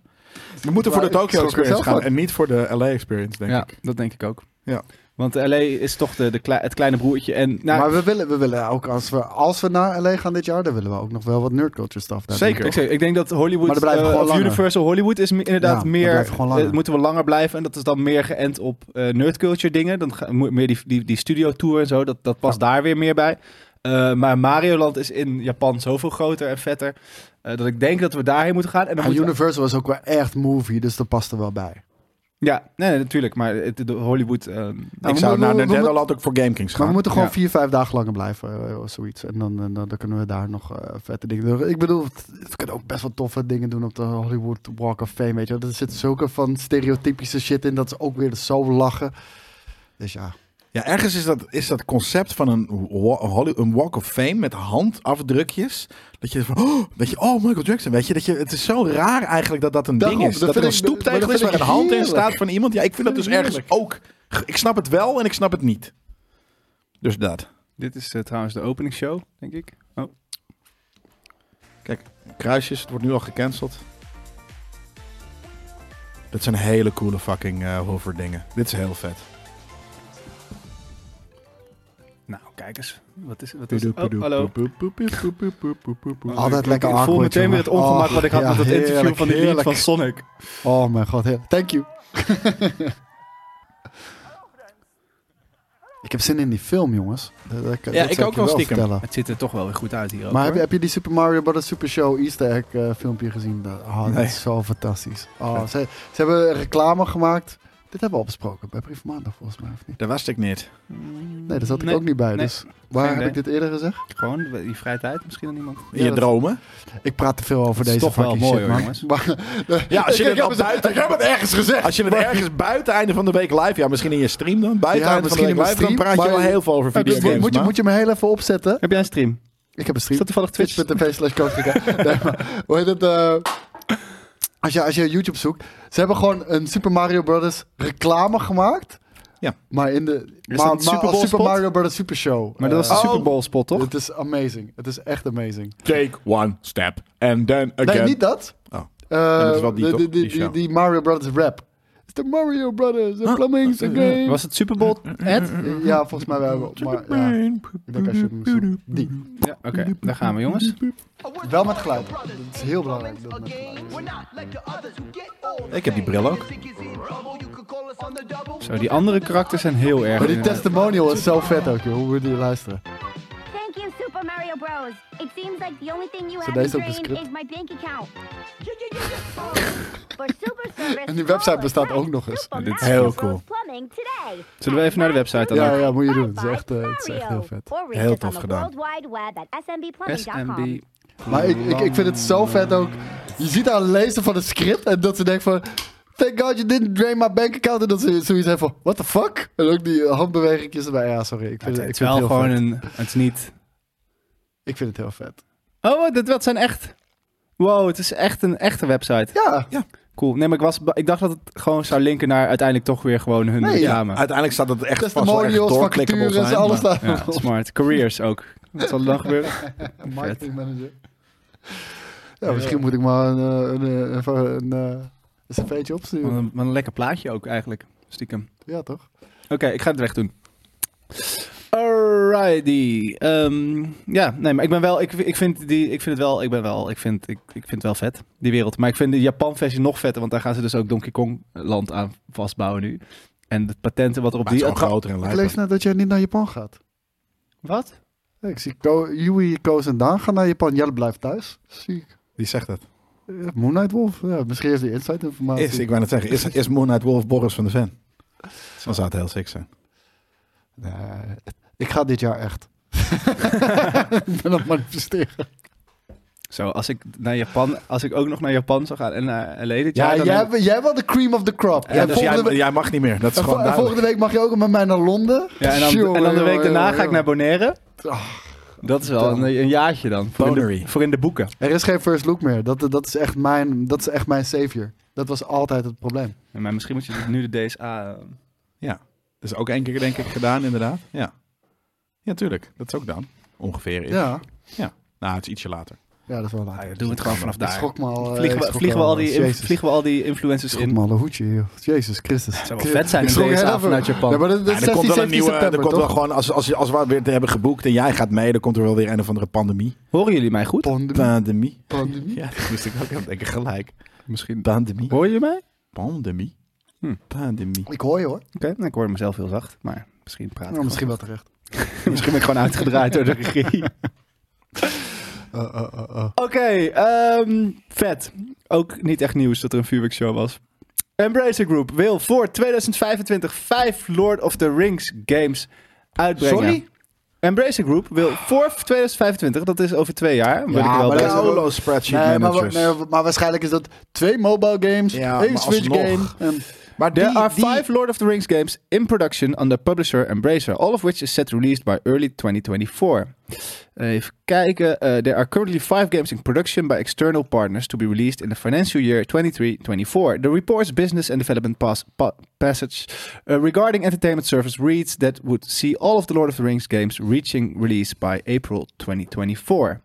S2: We moeten voor de
S3: Maar
S2: Tokyo
S3: ik schrok er
S2: Experience
S3: zelf
S2: gaan
S3: van.
S2: en niet voor de LA Experience, denk
S1: ja,
S2: ik.
S1: dat denk ik ook.
S2: Ja.
S1: Want LA is toch de, de klei- het kleine broertje. En, nou,
S3: maar we willen, we willen ook, als we, als we naar LA gaan dit jaar, dan willen we ook nog wel wat nerdculture stuff. daar doen.
S2: Zeker.
S1: Ik, zeg, ik denk dat Hollywood,
S3: Maar dan blijven we
S1: eh,
S3: gewoon
S1: of
S3: langer.
S1: Universal Hollywood is me- inderdaad
S3: Ja, dan
S1: meer,
S3: blijven we gewoon langer.
S1: eh, moeten we langer blijven. En dat is dan meer geënt op eh nerdculture dingen. Dan ga, mo- meer die, die, die studio tour en zo, dat, dat past daar weer meer bij. Eh, maar Marioland is in Japan zoveel groter en vetter, eh, dat ik denk dat we daarheen moeten gaan. En dan
S3: En
S1: moeten we-
S3: Universal is ook wel echt movie, dus dat past er wel bij.
S1: ja, nee, nee, natuurlijk, maar het, de Hollywood... ehm,
S3: Nou,
S2: ik
S3: we
S2: zou
S3: moeten-
S2: naar
S3: we- we
S2: Nintendo
S3: moeten-
S2: Land ook voor GameKings gaan.
S3: Maar we moeten gewoon
S2: Ja.
S3: vier, vijf dagen langer blijven, eh, of zoiets. En dan, dan, dan kunnen we daar nog eh, vette dingen doen. Ik bedoel, het- we kunnen ook best wel toffe dingen doen op de Hollywood Walk of Fame, weet je. wel. Er zit zulke van stereotypische shit in, dat ze ook weer zo lachen. Dus ja.
S2: Ja, ergens is dat, is dat concept van een, wa- Holly- een Walk of Fame met handafdrukjes. Dat je van, <gasps> oh, dat je, oh, Michael Jackson, weet je, dat je. Het is zo raar eigenlijk dat dat een
S3: Daarom,
S2: ding is.
S3: dat
S2: Dat er een
S3: vind ik- maar
S2: stoeptegel
S3: dat
S2: is
S3: vind
S2: waar een
S3: ik
S2: hand in
S3: heerlijk.
S2: staat van iemand. Ja, ik vind dat
S3: Dat
S2: dus
S3: vind ik
S2: ergens ook. Ik snap het wel en ik snap het niet. Dus dat.
S1: dit is eh, trouwens de openingsshow, denk ik. Oh.
S2: Kruisjes, het wordt nu al gecanceld. Dat zijn hele coole fucking eh hover dingen. Dit is heel vet.
S1: Nou, kijk eens. Wat is, wat is
S2: Doedoe,
S1: Oh,
S2: doedoe,
S1: hallo.
S2: doedoe, doedoe, doedoe, doedoe, doedoe, doedoe, doedoe.
S3: Altijd lekker
S1: Ik voel
S3: awkward,
S1: meteen weer het
S3: jongen.
S1: ongemak
S3: Och,
S1: wat ik had
S3: ja,
S1: met dat interview
S3: heerlijk,
S1: van die lied
S3: heerlijk.
S1: van Sonic.
S3: Oh mijn god, heel- thank you. <laughs> ik heb zin in die film, jongens. Dat, dat, dat zou
S2: ik ook
S3: je
S2: wel stiekem.
S3: vertellen.
S1: Het ziet er toch wel weer goed uit hier ook.
S3: Maar heb,
S1: hoor.
S3: je- heb je die Super Mario Bros. Super Show Easter egg eh, filmpje gezien? Dat- Oh, dat
S2: Nee.
S3: is zo fantastisch. Oh, ze, ze hebben reclame gemaakt. Dit hebben we al besproken bij Brief van Maandag volgens mij, of niet?
S2: Daar was ik niet.
S3: eh, Nee, daar zat ik
S1: Nee,
S3: ook niet bij.
S1: nee.
S3: Dus waar
S1: Geen
S3: heb ik
S1: idee.
S3: dit eerder gezegd?
S1: Gewoon die vrije tijd misschien aan iemand.
S2: In
S3: Ja,
S2: je
S3: dat-
S2: dromen.
S3: Ik praat te veel over
S1: Dat is
S3: deze
S1: toch wel
S3: fucking
S1: mooi,
S3: shit,
S1: hoor,
S3: man.
S1: jongens.
S3: Maar-
S2: Ja, als je
S3: Ik
S2: het
S3: heb
S2: al buiten... Ik heb het ergens gezegd. Als je het ergens buiten einde van de week live... Ja, misschien in je stream dan. Buiten
S3: Ja,
S2: einde van de
S3: misschien
S2: week
S3: in mijn
S2: live, dan
S3: stream,
S2: praat je wel
S3: maar-
S2: heel veel over
S3: Dus
S2: videogames.
S3: moet, je, moet je me heel even opzetten?
S1: Heb jij een stream?
S3: Ik heb een stream.
S1: Is dat toevallig Twitch?
S3: Twitch.tv slash Coach Kikker. Nee, maar Hoe heet het? eh, als, je, als je YouTube zoekt. Ze hebben gewoon een Super Mario Brothers reclame gemaakt.
S2: Ja.
S3: Maar in de
S1: dat
S3: maar,
S1: een
S3: maar
S1: Super Bowl
S3: als Super
S1: spot?
S3: Mario Brothers Super Show.
S1: Maar dat was
S3: Eh,
S1: de
S2: oh.
S1: Super Bowl spot, toch?
S3: Het is amazing. Het is echt amazing.
S2: Take one step and then again.
S3: Nee, niet dat.
S2: Oh.
S3: Eh,
S2: dat is wel die,
S3: de-
S2: toch?
S3: die,
S2: Die
S3: die, die,
S2: show.
S3: die Mario Brothers rap. The Mario Brothers, The Plumbing's a Game.
S1: Was het Super Bowl? Ed?
S3: Ja, volgens mij wel. Maar ja, ik denk als je hem zoekt, die.
S1: Ja, oké. Daar gaan we, jongens.
S3: Wel met geluid. Dat is heel belangrijk. Dat met
S4: Ik heb die bril ook.
S1: Zo, die andere karakters zijn heel erg.
S3: Maar die
S1: inderdaad.
S3: testimonial is zo vet ook, joh. Hoe we die luisteren.
S5: Thank you, Super Mario Bros. It seems like the only thing you
S3: So
S5: have
S3: there's
S5: in
S3: ook een
S5: drain
S3: script.
S5: is my bank account. <laughs> For super service,
S3: En die website
S5: call
S3: bestaat
S5: us
S3: ook nog
S5: at
S3: eens.
S5: Super
S2: Dit is
S5: Mario
S2: heel
S5: Bros.
S2: cool.
S5: Plumbing today.
S1: Zullen we even naar de website dan?
S3: Ja,
S1: ook?
S3: ja, moet je
S5: Bye
S3: doen. Het is
S5: bye,
S3: echt, eh, het is echt heel
S5: Mario.
S3: vet.
S5: Or reach
S2: Heel
S5: us
S2: tof
S5: on the
S2: gedaan.
S5: World Wide Web at smbplumbing.com.
S1: SMB.
S3: Maar ik, ik, ik vind het zo vet ook. Je ziet haar lezen van het script en dat ze denkt van... Thank God you didn't drain my bank account. En dat ze zoiets heeft van... What the fuck? En ook die handbewegingjes erbij. Ja, sorry. Ik vind,
S1: Het
S3: het, ik
S1: is
S3: vind
S1: wel
S3: het heel
S1: gewoon
S3: vet.
S1: een... Het is niet...
S3: Ik vind het heel vet.
S1: Oh, dit, dat zijn echt... Wow, het is echt een echte website.
S3: Ja.
S1: Cool. Nee, maar ik, was, ik dacht dat het gewoon zou linken naar uiteindelijk toch weer gewoon hun
S3: Nee, ja.
S1: reclame.
S2: Uiteindelijk staat het echt vast wel echt
S3: Testimonials,
S2: doorklikkable
S3: vacatures,
S2: zijn.
S3: alles
S2: maar-
S3: daar. <laughs>
S1: Ja, smart. Careers ook. Wat zal er dan gebeuren?
S3: Marketing manager. Ja, misschien moet ik maar een, eh, een, eh, even een, eh, een cv'tje
S1: Wat
S3: opsturen.
S1: een, wat een lekker plaatje ook eigenlijk. Stiekem.
S3: Ja, toch?
S1: Oké, ik ga het weg doen. Alrighty. Ehm, ja, nee, maar ik ben wel. Ik, ik, vind die, ik vind het wel. Ik ben wel. Ik vind, ik, ik vind het wel vet. Die wereld. Maar ik vind de Japan-versie nog vetter. Want daar gaan ze dus ook Donkey Kong-land aan vastbouwen nu. En de patenten wat er op
S2: Maar het is
S1: die.
S2: gewoon
S1: attra-
S2: groter en
S3: Ik lees
S2: lijper.
S3: net dat jij niet naar Japan gaat.
S1: Wat?
S3: Ja, ik zie Ko Yui, Koos en Daan gaan naar Japan. Jelle blijft thuis. Zie ik.
S2: Die zegt het.
S3: Ja, Moon Knight Wolf. Ja, misschien heeft hij insight informatie.
S2: Is, ik wou net zeggen, is, is Moon Knight Wolf Boris van de Ven? Dan zou het heel sick zijn.
S3: Nee, ik ga dit jaar
S1: <laughs>
S3: echt. ik ben aan het manifesteren.
S1: Zo, als ik naar Japan. Als ik ook nog naar Japan zou gaan en naar LA dit
S3: Ja,
S1: jaar. dan-
S3: jij, jij wel de cream of the crop.
S2: Ja,
S3: en
S2: dus
S3: volgende,
S2: jij,
S3: week-
S2: jij mag niet meer. Dat is
S3: en vo-
S2: gewoon
S3: en volgende
S2: duidelijk.
S3: week mag je ook met mij naar Londen.
S1: Ja, en dan, en dan de week daarna ga ik naar Bonaire.
S3: Oh,
S1: Dat is wel een, een jaartje dan. Voor in, de,
S2: Bonery.
S1: voor in de boeken.
S3: Er is geen first look meer. Dat, dat, is echt mijn, dat is echt mijn savior. Dat was altijd het probleem.
S1: Ja, Maar misschien moet je nu de DSA... eh,
S2: Ja. Dat is ook één keer denk ik gedaan, inderdaad. Ja. Ja, tuurlijk. Dat is ook dan. Ongeveer. is.
S3: Ja,
S2: Nou, het is ietsje later.
S3: ja dat is wel waar.
S1: Ah, ja, doen we het gewoon vanaf
S3: Ik
S1: daar.
S3: schrok me al. eh, ik
S1: Vliegen we,
S3: schrok
S1: vliegen,
S3: me
S1: we al die, in-
S3: Jezus.
S1: vliegen we al die influencers
S3: Ik schrok
S1: in?
S3: me al een hoedje, joh. Jezus Christus.
S1: zou wel vet zijn,
S3: Ik
S1: een
S3: schrok
S1: DSA
S3: heel even.
S1: vanuit Japan.
S3: Ja, maar dat, dat
S2: Ja,
S3: is
S2: er komt
S3: 16,
S2: wel een
S3: 17
S2: nieuwe. Er
S3: september,
S2: komt wel
S3: toch?
S2: gewoon, als, als, als we weer te hebben geboekt en jij gaat mee, dan komt er wel weer een of andere pandemie.
S1: Horen jullie mij goed?
S3: Pandemie.
S2: Pandemie.
S3: Pandemie.
S2: Ja, dat moest ik ook aan denken gelijk.
S1: Misschien.
S2: Pandemie.
S1: Hoor je mij?
S2: Pandemie.
S1: Hm.
S2: Pandemie.
S3: Ik hoor je hoor.
S1: Oké, nou, ik hoor mezelf heel zacht. Maar misschien praat ik
S3: Nou, misschien
S1: gewoon.
S3: wel terecht.
S1: <laughs> misschien ben ik gewoon uitgedraaid door de
S3: <laughs>
S1: regie.
S3: Eh, eh, eh, eh.
S1: Oké, ehm, vet. Ook niet echt nieuws dat er een vuurwerkshow was. Embracer Group wil voor 2025 vijf Lord of the Rings games uitbrengen.
S3: Sorry?
S1: Embracer Group wil voor 2025, dat is over twee jaar. weet ik
S3: Ja,
S1: wel
S3: maar
S1: bij-
S3: dat is-
S2: Paolo nou, spreadsheet
S3: Nee, maar, wa-
S2: managers.
S3: nee, maar waarschijnlijk is dat twee mobile games,
S2: Ja,
S3: één
S2: maar
S3: Switch
S2: alsnog.
S3: game. En
S2: maar
S1: There are five Lord of the Rings games in production under publisher Embracer, all of which is set released by early 2024. Even kijken. Eh, there are currently five games in production by external partners to be released in the financial year 23-24. The report's business and development pas- pa- passage uh, regarding entertainment service reads that would see all of the Lord of the Rings games reaching release by April 2024.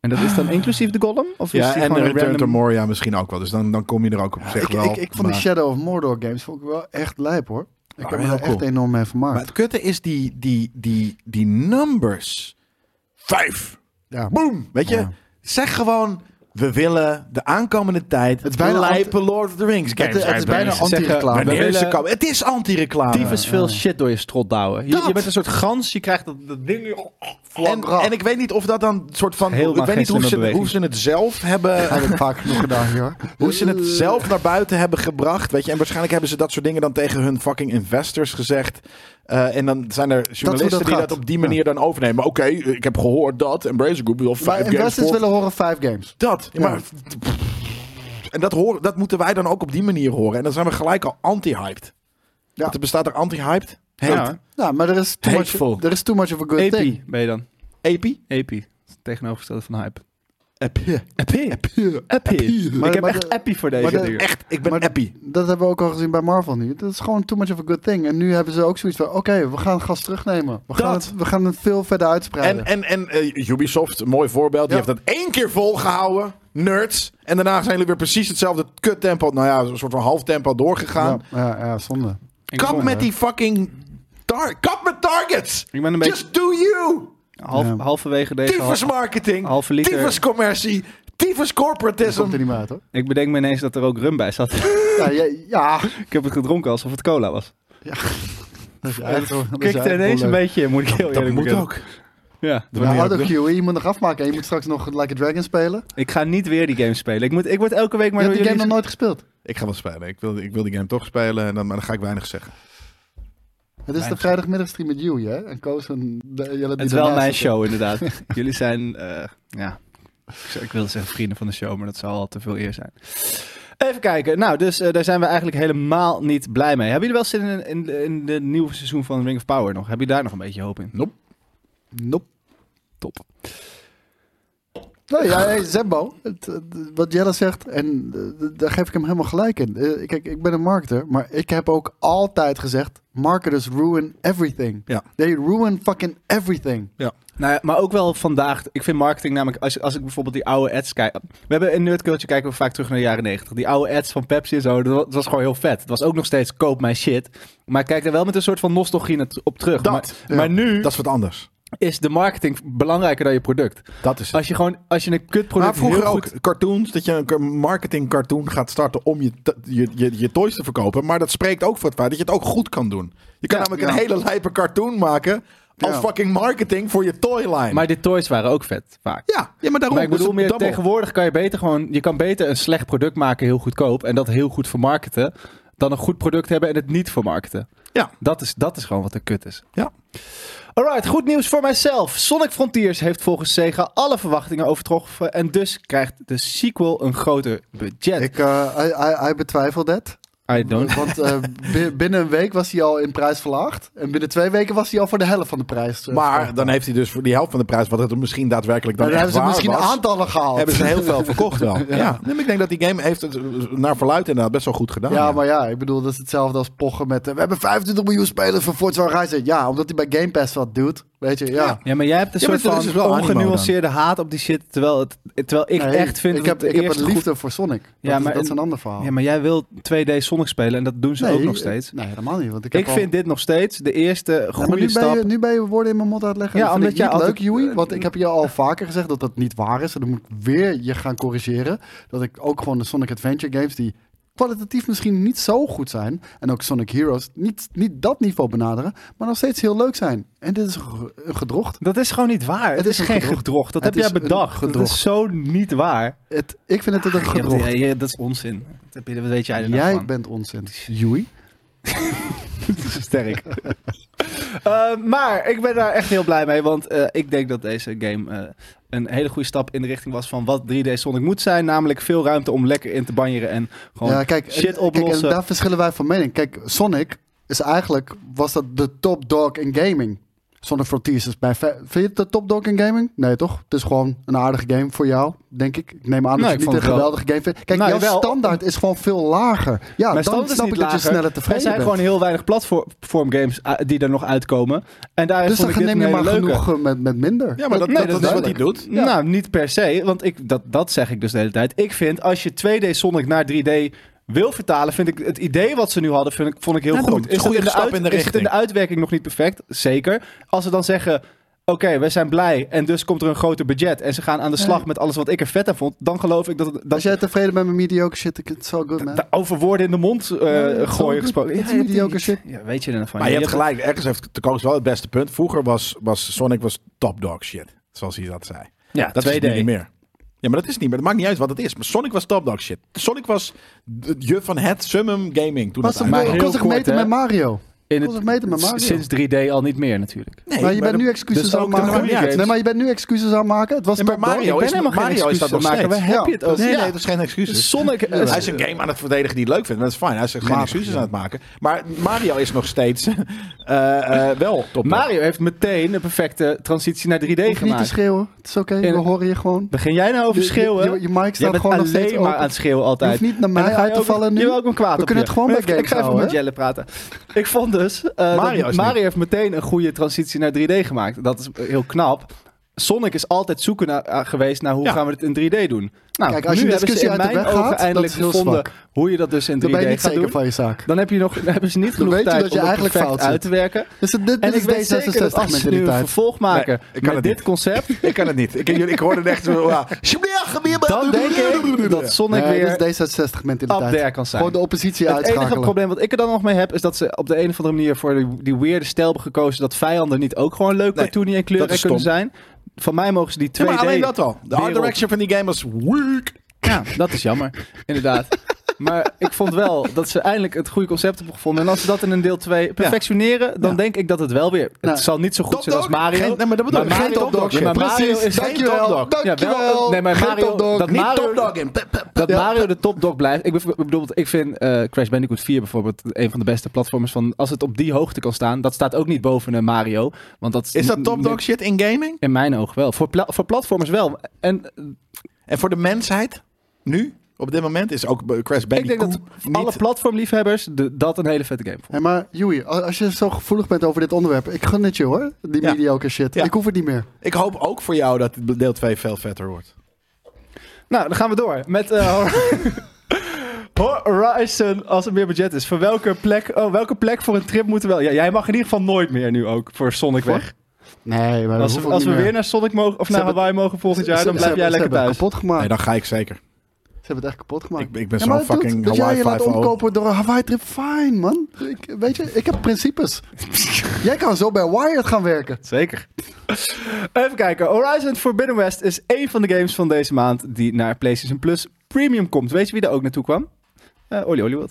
S1: En dat is dan inclusief de Golem? Of is
S2: Ah. Ja,
S1: die
S2: en
S1: gewoon
S2: de
S1: een
S2: Return
S1: random-
S2: to Moria misschien ook wel. Dus dan, dan kom je er ook op zich
S3: ik,
S2: wel.
S3: ik, ik vond die
S2: maar-
S3: Shadow of Mordor games vond ik wel echt lijp hoor. Ik
S2: Ja,
S3: heb me
S2: heel
S3: daar echt
S2: cool.
S3: enorm mee
S2: Maar
S3: vermaakt.
S2: het kutte is die, die, die, die numbers. Vijf.
S3: Ja.
S2: Boom. Weet je,
S3: Ja.
S2: zeg gewoon... We willen de aankomende tijd
S3: Het is bijna
S2: lijpe Lord of the Rings games
S3: Het, het is bijna
S2: uitbrengen.
S3: anti-reclame.
S1: we
S2: Wanneer ze
S1: willen-
S2: komen. Het is anti-reclame.
S1: tyfus veel shit door je strot douwen. Je,
S2: Dat!
S1: je bent een soort gans, je krijgt dat, dat ding...
S2: En, en ik weet niet of dat dan een soort van...
S1: Helemaal
S2: ik weet
S1: geen
S2: niet hoe
S1: slimme
S2: ze,
S1: beweging.
S2: hoe ze het zelf hebben...
S3: Dat heb ik vaak genoeg gedaan hier. hoor.
S2: <laughs> Hoe ze het zelf naar buiten hebben gebracht. Weet je, en waarschijnlijk hebben ze dat soort dingen dan tegen hun fucking investors gezegd. Eh, en dan zijn er journalisten
S3: dat
S2: die
S3: gaat.
S2: dat op die manier dan overnemen. Maar Oké, ik heb gehoord dat. Embracer Group wil
S3: Maar
S2: vijf games
S3: investors
S2: voor.
S3: willen horen vijf games.
S2: Dat.
S3: Ja.
S2: Maar, en dat, horen, dat moeten wij dan ook op die manier horen. En dan zijn we gelijk al anti-hyped.
S3: Ja.
S2: Want er bestaat er anti-hyped. Hate.
S1: Ja,
S3: Ja, maar er is, too much,
S2: Hateful.
S3: er is too much of a good
S1: Epi
S3: thing.
S1: ben je dan.
S2: Epi.
S1: Epi. Tegenovergestelde van hype.
S2: Epi.
S1: Epi. Epi.
S3: Maar-
S1: Ik heb
S3: maar
S1: echt
S3: de-
S1: epi voor deze
S3: maar de-
S1: dingen.
S2: Echt, ik ben
S3: Maar-
S2: epi.
S3: Dat hebben we ook al gezien bij Marvel nu. Dat is gewoon too much of a good thing. En nu hebben ze ook zoiets van, oké, we gaan gas terugnemen. We gaan,
S2: Dat.
S3: het, we gaan het veel verder uitspreiden.
S2: En, en, en eh, Ubisoft, een mooi voorbeeld. Die
S3: Ja.
S2: heeft dat één keer volgehouden. nerds. En daarna zijn jullie weer precies hetzelfde kut tempo. Nou ja, een soort van half tempo doorgegaan.
S3: Ja, ja, ja, zonde.
S2: Kap met die fucking... Tar kap met targets!
S1: Ik ben een beetje
S2: Just do you!
S1: half,
S3: Ja.
S1: halverwege deze...
S2: Tyfus
S1: hal-
S2: marketing,
S1: halve liter.
S2: tyfus commercie, tyfus
S3: Dat komt er
S2: corporatism.
S3: niet meer uit, hoor.
S1: Ik bedenk me ineens dat er ook rum bij zat.
S3: Ja, ja. ja.
S1: ik heb het gedronken alsof het cola was.
S3: Dat is eigenlijk- dat is
S1: Ik
S3: eigenlijk
S1: kikte ineens
S3: wel
S1: een
S3: leuk.
S1: beetje, moet ik heel
S2: Dat
S1: eerlijk
S2: moet
S1: bekennen.
S2: ook.
S1: Ja.
S2: De
S3: Ja,
S2: manier
S3: auto
S2: ook.
S3: QE, E je moet nog afmaken. En je moet straks nog Like a Dragon spelen.
S1: Ik ga niet weer die game spelen. Ik, moet, ik word elke week maar
S3: je hebt
S1: door
S3: die game nog
S1: jullie...
S3: nooit gespeeld.
S2: Ik ga wel spelen. Ik wil, ik wil die game toch spelen, en dan, maar dan ga ik weinig zeggen.
S3: Het is de vrijdagmiddagstream met Joey, hè? En Koos en de, jullie die
S1: Het is wel
S3: daarnaast
S1: mijn
S3: zitten.
S1: show, inderdaad. <laughs> jullie zijn, eh, ja... Ik zou- Ik wilde zeggen vrienden van de show, maar dat zou al te veel eer zijn. Even kijken. Nou, dus eh, daar zijn we eigenlijk helemaal niet blij mee. Hebben jullie wel zin in, in, in het nieuwe seizoen van Ring of Power nog? Heb je daar nog een beetje hoop in?
S3: Nope.
S1: Top.
S3: Nou ja, hey, Zembo, het, het- wat Jelle zegt, en eh, daar geef ik hem helemaal gelijk in. Eh, Kijk, ik ben een marketer, maar ik heb ook altijd gezegd, marketers ruin everything.
S2: Ja.
S3: They ruin fucking everything.
S1: Nou ja, maar ook wel vandaag. Ik vind marketing namelijk, als, als ik bijvoorbeeld die oude ads kijk. We hebben in Nerdculture kijken we vaak terug naar de jaren 90. Die oude ads van Pepsi en zo, dat wa- dat was gewoon heel vet. Het was ook nog steeds koop mijn shit. Maar ik kijk er wel met een soort van nostalgie nat- op terug.
S2: Dat,
S1: maar,
S3: ja.
S1: maar nu
S2: Dat is wat anders.
S1: is de marketing belangrijker dan je product.
S2: Dat is het.
S1: Als je gewoon, als je een kutproduct
S2: Maar vroeger
S1: heel
S2: ook
S1: goed-
S2: cartoons, dat je een ka- marketing cartoon gaat starten om je, t- je, je, je toys te verkopen. Maar dat spreekt ook voor het feit dat je het ook goed kan doen. Je kan
S1: Ja,
S2: namelijk
S3: ja.
S2: een hele lijpe cartoon maken als
S3: Ja.
S2: fucking marketing voor je toyline.
S1: Maar de toys waren ook vet, vaak.
S2: ja, ja, maar daarom
S1: Maar ik
S2: dus
S1: bedoel
S2: het
S1: meer,
S2: dubbel.
S1: tegenwoordig kan je beter gewoon... Je kan beter een slecht product maken heel goedkoop... en dat heel goed vermarkten... dan een goed product hebben en het niet vermarkten.
S2: Ja.
S1: Dat is, dat is gewoon wat de kut is.
S2: Ja.
S1: Alright, goed nieuws voor mijzelf. Sonic Frontiers heeft volgens Sega alle verwachtingen overtroffen... en dus krijgt de sequel een groter budget.
S3: Ik, eh, I, I, I betwijfel dat.
S1: I don't...
S3: Want eh, bi- binnen een week was hij al in prijs verlaagd. En binnen twee weken was hij al voor de helft van de prijs. eh,
S2: Maar
S3: verkocht.
S2: dan heeft hij dus voor die helft van de prijs, wat het er misschien daadwerkelijk dan
S3: Maar dan
S2: echt
S3: hebben ze
S2: waar
S3: misschien
S2: was,
S3: aantallen gehaald.
S2: hebben ze heel veel verkocht wel. <laughs> ja. Nee, maar ik denk dat die game heeft het eh, naar verluid inderdaad best wel goed gedaan.
S3: Ja, maar ja, ik bedoel, dat is hetzelfde als pochen met... eh, we hebben 25 miljoen spelers van Forza Horizon. Ja, omdat hij bij Game Pass wat doet. Weet je, ja.
S2: Ja.
S1: Ja, maar jij hebt een
S2: Ja, maar
S1: soort
S2: er is
S1: van
S2: dus wel animo
S1: ongenuanceerde haat op die shit... terwijl, het, terwijl ik
S3: Nee,
S1: echt vind
S3: Ik
S1: dat
S3: heb,
S1: het
S3: ik heb
S1: eerste
S3: een
S1: goed-
S3: liefde voor Sonic.
S1: Ja,
S3: Ja, dat,
S1: maar
S3: maar, dat
S1: een-
S3: is een ander verhaal.
S1: Ja, maar jij wil 2D Sonic spelen en dat doen ze
S3: Nee,
S1: ook nog
S3: ik-
S1: steeds.
S3: Nee, helemaal niet. Want ik
S1: Ik
S3: heb al-
S1: vind dit nog steeds de eerste
S3: Ja, maar
S1: goede
S3: nu
S1: stap.
S3: Ben je, nu ben je woorden in mijn mond uitleggen.
S1: Ja,
S3: Ja, dat vind
S1: omdat
S3: ik niet
S1: jij
S3: leuk,
S1: altijd- Eh.
S3: Joey. Want ik heb je al vaker gezegd dat dat niet waar is. En dan moet ik weer je gaan corrigeren. Dat ik ook gewoon de Sonic Adventure games die kwalitatief misschien niet zo goed zijn. En ook Sonic Heroes niet, niet dat niveau benaderen. Maar nog steeds heel leuk zijn. En dit is een ge- een gedrocht.
S1: Dat is gewoon niet waar. Het,
S3: Het
S1: is,
S3: is een
S1: geen gedrocht.
S3: gedrocht.
S1: Dat
S3: Het
S1: heb jij
S3: is een
S1: bedacht. Dat
S3: gedrocht.
S1: is zo niet waar.
S3: Het, ik vind het een gedrocht.
S1: Ja, ja, dat is onzin. Dat, heb je- dat weet Ah, jij er nou
S3: Jij
S1: van.
S3: bent onzin, Joey.
S1: <laughs> sterk. Eh, maar ik ben daar echt heel blij mee, want eh, ik denk dat deze game eh, een hele goede stap in de richting was van wat 3D Sonic moet zijn. Namelijk veel ruimte om lekker in te banjeren en gewoon...
S3: ja, kijk,
S1: shit
S3: en- kijk,
S1: oplossen.
S3: en daar verschillen wij van mening. Kijk, Sonic is eigenlijk was dat de top dog in gaming. Sonic Frontiers is bij ver- vind je het de top dog in gaming? Nee, toch? Het is gewoon een aardige game voor jou, denk ik. Ik neem aan
S1: Nee,
S3: dat
S1: ik
S3: je niet
S1: vond
S3: een
S1: het wel-
S3: geweldige game vindt. Kijk,
S1: Nou,
S3: jouw
S1: wel-
S3: standaard is gewoon veel lager. Ja,
S1: Mijn
S3: dan
S1: standaard is
S3: snap ik
S1: niet
S3: dat je
S1: lager.
S3: sneller
S1: Er
S3: tevreden
S1: zijn
S3: bent.
S1: gewoon heel weinig platformgames eh, die er nog uitkomen. En daar
S3: dus
S1: vond
S3: dan
S1: ik dit
S3: neem
S1: een
S3: je maar
S1: hele leuke.
S3: genoeg eh, met, met minder.
S2: Ja, maar dat,
S1: Nee,
S2: dat,
S1: dat
S2: dat is wat hij
S1: duidelijk.
S2: doet.
S1: Nou, niet per se, want ik, dat, dat zeg ik dus de hele tijd. Ik vind, als je 2D Sonic naar 3D wil vertalen, vind ik het idee wat ze nu hadden, vind ik, vond ik heel
S2: Ja, daarom.
S1: goed.
S2: Het is een goede
S1: het
S2: stap in de
S1: is het in de
S2: richting.
S1: uitwerking nog niet perfect? Zeker. Als ze dan zeggen, oké, we zijn blij en dus komt er een groter budget en ze gaan aan de slag met alles wat ik er vet aan vond, dan geloof ik dat... het- dat
S3: Als jij tevreden bent met mediocre shit, ik- it's so good, man.
S1: da- over woorden in de mond eh,
S3: dat is
S1: gooien
S3: wel goed.
S1: gesproken.
S3: Het is
S1: je hebt
S3: mediocre
S1: die-
S3: shit.
S1: Ja, weet je er nou van?
S2: Maar je hebt
S1: hebt-
S2: gelijk, ergens heeft de koos wel het beste punt. Vroeger was, was Sonic was top dog shit, zoals hij dat zei.
S1: Ja,
S2: Dat
S1: 2D.
S2: is nu niet meer. Ja, maar dat is niet meer. Het maakt niet uit wat het is. Maar Sonic was top dog shit. Sonic was de- je van het summum gaming toen
S3: Was
S2: dat
S3: toch-
S1: maar
S2: uitkwam.
S1: heel
S3: kon zich
S1: kort,
S3: meten
S1: hè?
S3: met Mario.
S1: In
S3: Kon zich meten met Mario.
S1: het, sinds 3D al niet meer natuurlijk.
S2: Nee,
S3: maar je bent
S2: dat-
S3: nu excuses
S1: dus
S3: aan
S1: ook
S3: het
S1: de
S3: maken.
S1: goede games.
S3: Nee, maar je bent nu excuses aan het maken. Het was
S2: Ja, maar
S3: top dog.
S2: Mario
S1: ik ben
S2: is,
S1: helemaal geen
S2: Mario is dat
S1: excuses
S2: nog
S1: aan het
S2: steeds.
S1: maken. Waar heb je het over?
S2: Nee,
S1: Ja.
S2: nee, dat is geen excuses.
S1: Sonic... eh,
S2: Hij is een game aan het verdedigen die hij leuk vindt. Dat is fijn. Hij is geen
S3: Mario.
S2: excuses aan het maken. Maar Mario is nog steeds <laughs> eh, eh, wel top dog.
S1: Mario heeft meteen een perfecte transitie naar 3D
S3: Hoef je niet te
S1: gemaakt.
S3: schreeuwen. Het is oké,
S1: En-
S3: we horen je gewoon.
S1: Begin jij nou over
S3: Je- je-
S1: schreeuwen?
S3: je- je mic staat
S1: Jij bent
S3: gewoon nog
S1: alleen
S3: steeds
S1: maar
S3: open.
S1: aan het schreeuwen
S3: Je
S1: altijd.
S3: hoeft niet naar
S1: En
S3: mij
S1: dan ga je
S3: uit te
S1: ook-
S3: vallen nu.
S1: Je wil ook een kwaad
S3: We
S1: op
S3: kunnen
S1: je.
S3: het gewoon
S1: Maar
S3: bij
S1: ik- Ik
S3: games
S1: ga even met
S3: houden,
S1: Jelle praten. <laughs> Ik vond dus eh,
S2: Mario
S1: dat
S2: is
S1: Mario
S2: niet.
S1: heeft meteen een goede transitie naar 3D gemaakt. Dat is heel knap. Sonic is altijd zoeken naar- eh, geweest naar hoe
S2: Ja.
S1: gaan we het in 3D doen. Nou,
S3: Kijk, als
S1: nu
S3: je een
S1: hebben ze
S3: discussie
S1: in
S3: uit de
S1: mijn
S3: weg
S1: ogen
S3: gaat, dat
S1: eindelijk
S3: is heel
S1: gevonden
S3: zwak.
S1: hoe je dat dus in 3D
S3: Dan ben je niet
S1: gaat
S3: zeker
S1: doen.
S3: van je zaak.
S1: Dan, heb je nog, dan hebben ze niet
S3: Dan
S1: genoeg
S3: weet je
S1: tijd
S3: dat je
S1: om dat
S3: eigenlijk
S1: perfect
S3: fout
S1: uit te werken.
S3: Dus dit,
S1: En
S3: dit
S1: ik weet
S3: is
S1: zeker dat als ze nu een
S3: D66-mentaliteit.
S1: vervolg maken
S2: Nee, ik
S1: met
S2: kan het
S1: dit
S2: niet. <laughs>
S1: concept,
S2: Ik kan het niet. Ik, jullie- ik hoorde het echt zo. ja, alsjeblieft, meer bij- <laughs>
S1: dan denk ik dat Sonic
S3: Nee,
S2: dus
S1: weer
S3: dat is D66-mentaliteit.
S1: up there kan zijn.
S3: Gewoon de oppositie
S1: Het
S3: uitschakelen.
S1: enige probleem wat ik er dan nog mee heb, is dat ze op de een of andere manier voor die, die weirde stijl hebben gekozen dat vijanden niet ook gewoon leuk
S2: Nee,
S1: cartoony en kleur
S2: dat
S1: en
S2: is
S1: kunnen
S2: stom.
S1: zijn. Van mij mogen ze die 2D...
S2: Ja, maar alleen dat al. De art
S1: wereld.
S2: direction van die game was weak.
S1: Ja, dat is jammer, <laughs> inderdaad. Maar ik vond wel dat ze eindelijk het goede concept hebben gevonden. En als ze dat in een deel 2 perfectioneren, dan
S2: Ja.
S1: dan denk ik dat het wel weer... Het
S3: Nou,
S1: zal niet zo goed
S2: Top
S1: zijn als
S2: Dog?
S1: Mario.
S2: Geen- nee, maar dat bedoel ik.
S1: Maar
S2: Geen
S1: Mario-
S2: Top Dog.
S1: Ja, maar Mario
S3: Precies,
S1: is geen
S3: dankjewel,
S1: Top Dog.
S3: dankjewel.
S1: Ja, wel. Nee, maar
S3: Geen
S1: Mario,
S3: Top Dog.
S1: dat
S2: Niet
S1: Mario,
S2: top dog in. Pep, pep.
S1: dat
S3: Ja.
S1: Mario de topdog blijft. Ik bev- bijvoorbeeld, ik vind eh, Crash Bandicoot 4 bijvoorbeeld een van de beste platformers van. Als het op die hoogte kan staan, dat staat ook niet boven een Mario. Want dat
S2: Is dat
S1: n-
S2: top dog shit in gaming?
S1: In mijn oog wel. Voor, pla- voor platformers wel. En eh,
S2: En voor de mensheid? Nu? Op dit moment is ook eh, Crash
S1: ik denk
S2: Bandicoot
S1: dat alle platformliefhebbers de- dat een hele vette game vonden.
S3: Hé, maar Joey, al- als je zo gevoelig bent over dit onderwerp, ik gun het je hoor, die
S2: Ja.
S3: mediocre shit.
S2: Ja.
S3: Ik hoef het niet meer.
S2: Ik hoop ook voor jou dat deel 2 veel vetter wordt.
S1: Nou, dan gaan we door met eh, Hor- <laughs> Horizon als er meer budget is. Van welke plek, oh, welke plek voor een trip moeten we wel? Ja, jij mag in ieder geval nooit meer nu ook voor Sonic weg.
S3: Nee, maar
S1: Als
S3: hoef
S1: we,
S3: ik
S1: als
S3: niet
S1: we
S3: meer.
S1: weer naar Sonic mogen of naar
S3: hebben-
S1: Hawaii mogen volgend jaar,
S3: Ze-
S1: dan
S3: ze
S1: blijf jij
S3: hebben-
S1: lekker
S3: Ze hebben
S1: thuis.
S3: het kapot gemaakt.
S2: Nee, dan ga ik zeker.
S3: Ze hebben het echt kapot gemaakt.
S2: Ik, ik ben
S3: Ah. Ja,
S2: zo'n
S3: maar dude,
S2: fucking
S3: dat
S2: Hawaii oh.
S3: jij je laat
S2: 5
S3: omkopen door een Hawaii trip, fijn man. Ik, weet je, ik heb principes. jij kan zo bij Wired gaan werken.
S1: Zeker. Even kijken. Horizon Forbidden West is één van de games van deze maand die naar PlayStation Plus Premium komt. Weet je wie daar ook naartoe kwam? Eh Olly Hollywood.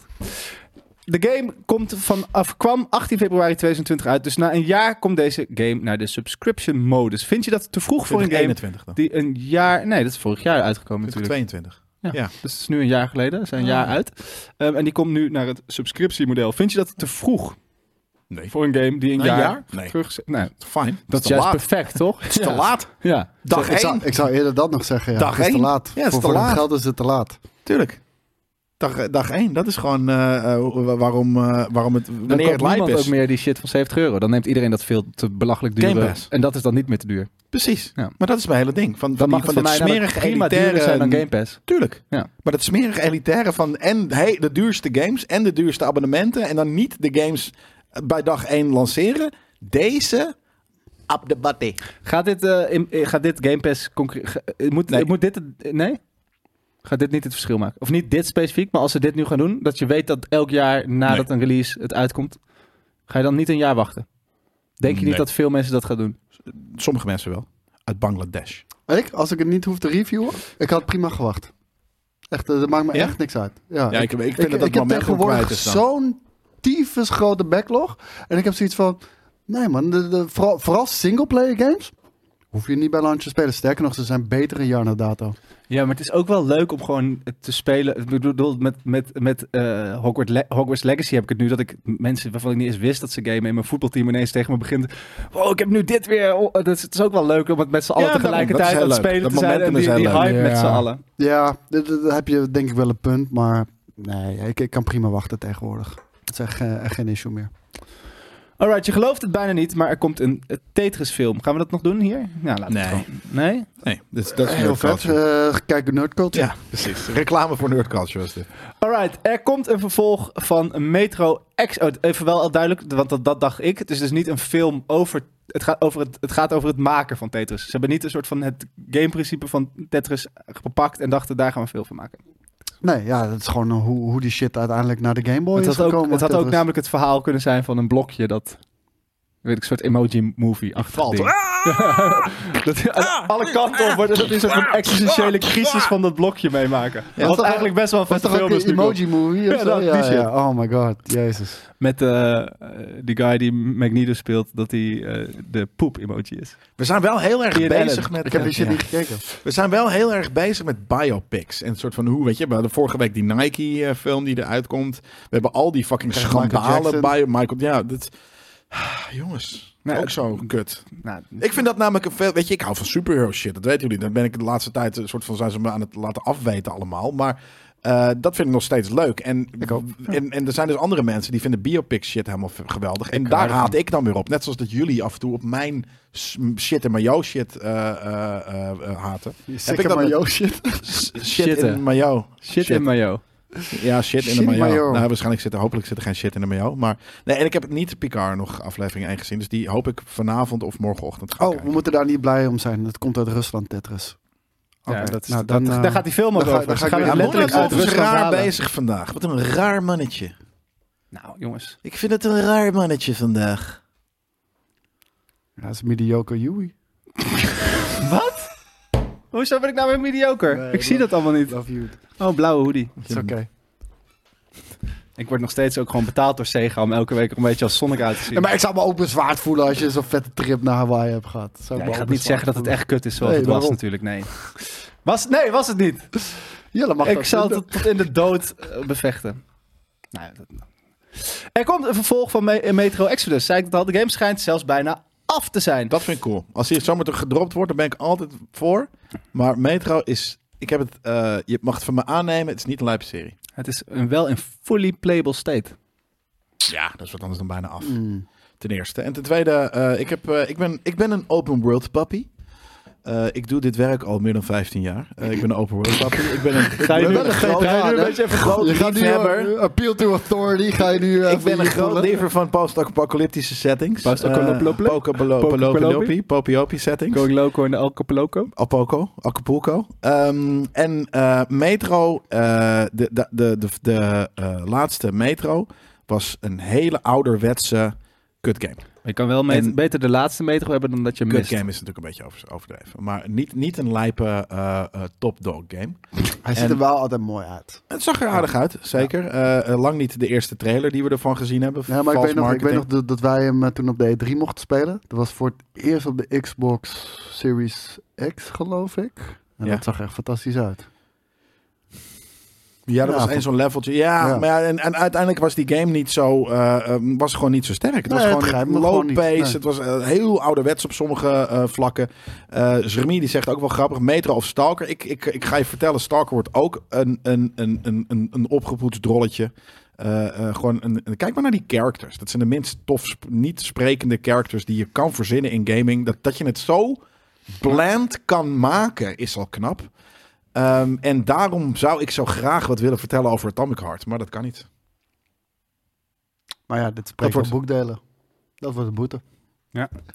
S1: De game komt vanaf, kwam 18 februari 2020 uit. Dus na een jaar komt deze game naar de subscription modus. Vind je dat te vroeg voor een game
S2: 21 dan.
S1: die een jaar... Nee, dat is vorig jaar uitgekomen natuurlijk.
S2: 22.
S1: Dus het is nu een jaar geleden. We zijn een
S2: Ah.
S1: jaar uit. Ehm, en die komt nu naar het subscriptiemodel. Vind je dat te vroeg
S2: Nee.
S1: voor een game die een,
S2: Een
S1: jaar,
S2: jaar? Nee.
S1: terug... Nou,
S2: Fine. Dat,
S1: dat is juist perfect, toch?
S2: <laughs> Het is te laat.
S1: Ja.
S2: Dag
S3: ik, zou,
S2: 1.
S3: ik zou eerder dat nog zeggen. Ja.
S2: Dag
S3: het is te
S2: één.
S3: laat.
S2: Ja, het is
S3: voor
S2: te
S3: voor dat
S2: laat.
S3: geld is het te laat.
S2: Tuurlijk. Dag, eh, dag 1. Dat is gewoon eh, eh, wa- waarom, eh, waarom het
S1: Dan
S2: wanneer
S1: koopt
S2: het lijp
S1: niemand ook
S2: is.
S1: meer die shit van 70 euro. Dan neemt iedereen dat veel te belachelijk
S2: Game
S1: duur.
S2: Pass.
S1: En dat is dan niet meer te duur.
S2: Precies.
S1: Ja.
S2: Maar dat is mijn hele ding. Van,
S1: Dan
S2: van,
S1: mag
S2: die,
S1: het
S2: van
S1: voor
S2: dat
S1: mij namelijk
S2: smerige
S1: prima duurder
S2: elitaire... ehm,
S1: zijn dan Game Pass.
S2: Tuurlijk.
S1: Ja.
S2: Maar dat smerige elitaire van en hey, de duurste games en de duurste abonnementen en dan niet de games bij dag 1 lanceren. Deze op de batty.
S1: Gaat dit, eh, in- eh, gaat dit Game Pass... concurre- ge- eh, Moet,
S2: Nee.
S1: eh, moet dit... het- eh, Nee? Gaat dit niet het verschil maken? Of niet dit specifiek, maar als ze dit nu gaan doen... dat je weet dat elk jaar nadat een release het uitkomt... ga je dan niet een jaar wachten? Denk je niet
S2: Nee.
S1: dat veel mensen dat gaan doen?
S2: Sommige mensen wel. Uit Bangladesh.
S3: Ik, als ik het niet hoef te reviewen, ik had prima gewacht. Echt, eh, dat maakt me
S2: Ja?
S3: echt niks uit. Ja,
S2: Ja, ik, ik vind dat
S3: ik
S2: dat
S3: heb
S2: moment
S3: tegenwoordig
S2: kwijt is dan.
S3: zo'n tyfus grote backlog. En ik heb zoiets van... Nee man, de, de, vooral, vooral singleplayer games... hoef je niet bij launch te spelen. Sterker nog, ze zijn beter een jaar na dato.
S1: Ja, maar het is ook wel leuk om gewoon te spelen. Ik bedoel, met, met, met eh, Hogwarts, Le- Hogwarts Legacy heb ik het nu dat ik mensen waarvan ik niet eens wist dat ze gamen in mijn voetbalteam ineens tegen me begint. Wow, ik heb nu dit weer. Oh, dat is, het is ook wel leuk om het met z'n allen
S2: daarom. Dat is
S1: tegelijkertijd
S2: heel
S1: aan het
S2: leuk.
S1: spelen
S2: Dat
S1: te zijn. En
S2: momentum
S1: die,
S2: is
S1: die
S2: heel leuk.
S1: hype met
S3: Ja.
S1: z'n allen.
S3: Ja, d- d- daar heb je denk ik wel een punt. Maar nee, ik, ik kan prima wachten tegenwoordig. Het is echt, eh, echt geen issue meer.
S1: Alright, je gelooft het bijna niet, maar er komt een eh, Tetris-film. Gaan we dat nog doen hier? Ja, laten we het
S2: Nee.
S1: gewoon. Nee?
S2: Nee, dat is, dat is
S3: Heel
S2: nerd
S3: vet.
S2: culture.
S3: Eh, kijk, nerd culture.
S2: ja, precies. Reclame voor nerd culture was dit.
S1: Alright, er komt een vervolg van Metro X. Oh, even wel al duidelijk, want dat, dat dacht ik. Het is dus niet een film over. Het gaat over het, het gaat over het maken van Tetris. Ze hebben niet een soort van het gameprincipe van Tetris gepakt en dachten daar gaan we veel van maken.
S3: Nee, ja, dat is gewoon eh, hoe, hoe die shit uiteindelijk naar de Game Boy
S1: het
S3: is
S1: had, ook,
S3: gekomen.
S1: het had ook
S3: Tetris.
S1: namelijk het verhaal kunnen zijn van een blokje dat. Weet ik, een soort emoji movie achter.
S2: valt.
S1: Ding. <laughs> dat, aan alle kanten op wordt dat is een soort van existentiële crisis van dat blokje meemaken.
S3: toch
S1: Wat
S3: ook-
S1: eigenlijk best wel een
S3: was
S1: vette
S3: toch ook
S1: film is.
S3: een
S1: nu komt.
S3: emoji movie? of
S1: Ja,
S3: zo?
S1: dat- die
S3: ja,
S1: shit.
S3: ja. Oh my god, jezus.
S1: Met eh, eh, die guy die Magneto speelt, dat hij eh, de poep-emoji is.
S2: We zijn wel heel erg
S1: Ian
S2: bezig
S1: Allen.
S2: met... eh,
S3: Ik heb die
S2: Ja.
S3: shit niet gekeken.
S2: We zijn wel heel erg bezig met biopics. En een soort van hoe, weet je, we hadden vorige week die Nike-film die eruit komt. We hebben al die fucking
S3: Krijg Michael
S2: schandalen
S3: Jackson.
S2: bij Michael. Ja, dat. Ah, Jongens,
S1: Nou,
S2: ook
S1: het-
S2: zo kut.
S1: Nou,
S2: Ik vind dat namelijk een veel. Weet je, ik hou van superhero shit. Dat weten jullie. Dan ben ik de laatste tijd een soort van zijn ze me aan het laten afweten allemaal. Maar eh, Eh, dat vind ik nog steeds leuk. En,
S3: Ik ook,
S2: en, en er zijn dus andere mensen die vinden biopic shit helemaal v- geweldig. En
S1: Ik
S2: daar
S1: hou ervan.
S2: haat ik dan weer op. Net zoals dat jullie af en toe op mijn s- shit en maar jouw shit eh, eh, eh, eh, haten.
S3: Sikke
S2: ik dat-
S3: maar,
S1: <laughs>
S3: yo, shit.
S2: S- Shit,
S1: Shitten.
S2: in mayo.
S1: Shit in mayo.
S2: Ja, shit,
S3: Shit
S2: in de
S3: in
S2: mayo.
S3: mayo.
S2: Nou, waarschijnlijk zit er, hopelijk zit er geen shit in de mayo. Maar nee, en ik heb niet Picard nog aflevering 1 gezien. Dus die hoop ik vanavond of morgenochtend gaan
S3: Oh, we
S2: kijken.
S3: moeten daar niet blij om zijn. Het komt uit Rusland, Tetris. Oké,
S1: Ja, dat is,
S3: nou,
S1: dat,
S3: dan, eh,
S1: daar gaat die film ook
S3: dan ga-
S1: over.
S3: dan ga
S1: Ze
S3: ik
S1: gaan
S3: weer-
S1: het
S2: Ja,
S3: Moet
S1: letterlijk
S2: Moederland
S1: uit
S2: is
S1: Rusland
S2: raar
S1: halen.
S2: bezig vandaag. Wat een raar mannetje.
S1: Nou, jongens.
S2: Ik vind het een raar mannetje vandaag.
S3: Ja, dat is mediocre Yui.
S1: Hoezo ben ik nou weer mediocre?
S3: Nee,
S1: ik zie dat allemaal niet.
S3: Love you.
S1: Oh, blauwe hoodie.
S3: Het is oké.
S1: Ik word nog steeds ook gewoon betaald door Sega om elke week er een beetje als Sonic uit te zien.
S3: Ja, maar ik zou me ook bezwaard voelen als je zo'n vette trip naar Hawaii hebt gehad. Zou
S1: Ja,
S3: ik
S1: je
S3: me ook
S1: gaat niet zeggen dat het echt kut is zoals
S3: Nee,
S1: het was
S3: waarom?
S1: natuurlijk, nee. Was, nee, was het niet.
S3: bezwaard voelen. Jelle mag
S1: ik
S3: dat
S1: zal
S3: vinden.
S1: het tot in de dood eh, bevechten. Nou, ja, dat- Er komt een vervolg van Me- eh, Metro Exodus. Zei ik dat al, de game schijnt zelfs bijna af te zijn.
S2: Dat vind ik cool. Als die zomaar gedropt wordt, dan ben ik altijd voor. Maar Metro is... Ik heb het, eh, je mag het van me aannemen. Het is niet een lijpe serie.
S1: Het is een, wel een fully playable state.
S2: Ja, dat is wat anders dan bijna af.
S3: Mm.
S2: Ten eerste. En ten tweede, eh, ik, heb, eh, ik, ben, ik ben een open world puppy. Eh, ik doe dit werk al meer dan 15 jaar. Eh, ik ben een open world puppy. Ik ben een,
S1: Ga je
S2: ik
S1: nu-
S2: ben een
S1: ga je-
S2: grote-
S1: ga je nu een beetje even groot
S3: Je gaat nu
S2: liefhebber.
S3: eh, appeal to authority. Ga je nu eh,
S2: ik
S3: voor
S2: ben een
S3: je
S2: groot
S3: voelen?
S2: lever van post-apocalyptische settings. Eh,
S1: Post-apocalyptische?
S2: Post-apocalyptische. Popiopi settings.
S1: Going Loco en Alcapoloco.
S2: Apoco, Acapulco. Ehm, en eh, Metro, eh, de, de, de, de, de, eh, laatste Metro was een hele ouderwetse kutgame.
S1: Je kan wel met-
S2: En-
S1: beter de laatste metro hebben dan dat je mist.
S2: Kutgame is natuurlijk een beetje over- overdreven. Maar niet, niet een lijpe eh eh, top dog game.
S3: Hij ziet er
S2: En-
S3: wel altijd mooi uit.
S2: Het zag er aardig uit, zeker. Eh, eh, lang niet de eerste trailer die we ervan gezien hebben.
S3: Ja, maar ik
S2: Vals
S3: weet, nog, ik weet
S2: marketing.
S3: nog dat, dat wij hem eh, toen op de E3 mochten spelen. Dat was voor het eerst op de Xbox Series X, geloof ik. En
S2: Ja.
S3: dat zag er echt fantastisch uit.
S2: Ja, dat
S3: Ja,
S2: was
S3: van-
S2: één zo'n leveltje. Ja,
S3: Ja.
S2: maar ja, en, en uiteindelijk was die game niet zo, eh, eh, was gewoon niet zo sterk. Het
S3: Nee, het
S2: was
S3: grijpt
S2: gewoon
S3: me
S2: low
S3: gewoon niet.
S2: pace.
S3: Nee.
S2: Het was eh, heel ouderwets op sommige eh, vlakken. Eh Zermi die zegt ook wel grappig, Metro of Stalker. Ik, ik, ik ga je vertellen, Stalker wordt ook een, een, een, een, een, een opgepoetst drolletje. Eh, eh, gewoon een, een- kijk maar naar die characters. Dat zijn de minst tof, sp- niet sprekende characters die je kan verzinnen in gaming. Dat, dat je het zo bland kan maken, is al knap. Ehm, en daarom zou ik zo graag wat willen vertellen over Atomic Heart, maar dat kan niet.
S3: Maar ja, dit spreekt voor
S2: wordt-
S3: boekdelen. Dat wordt een boete.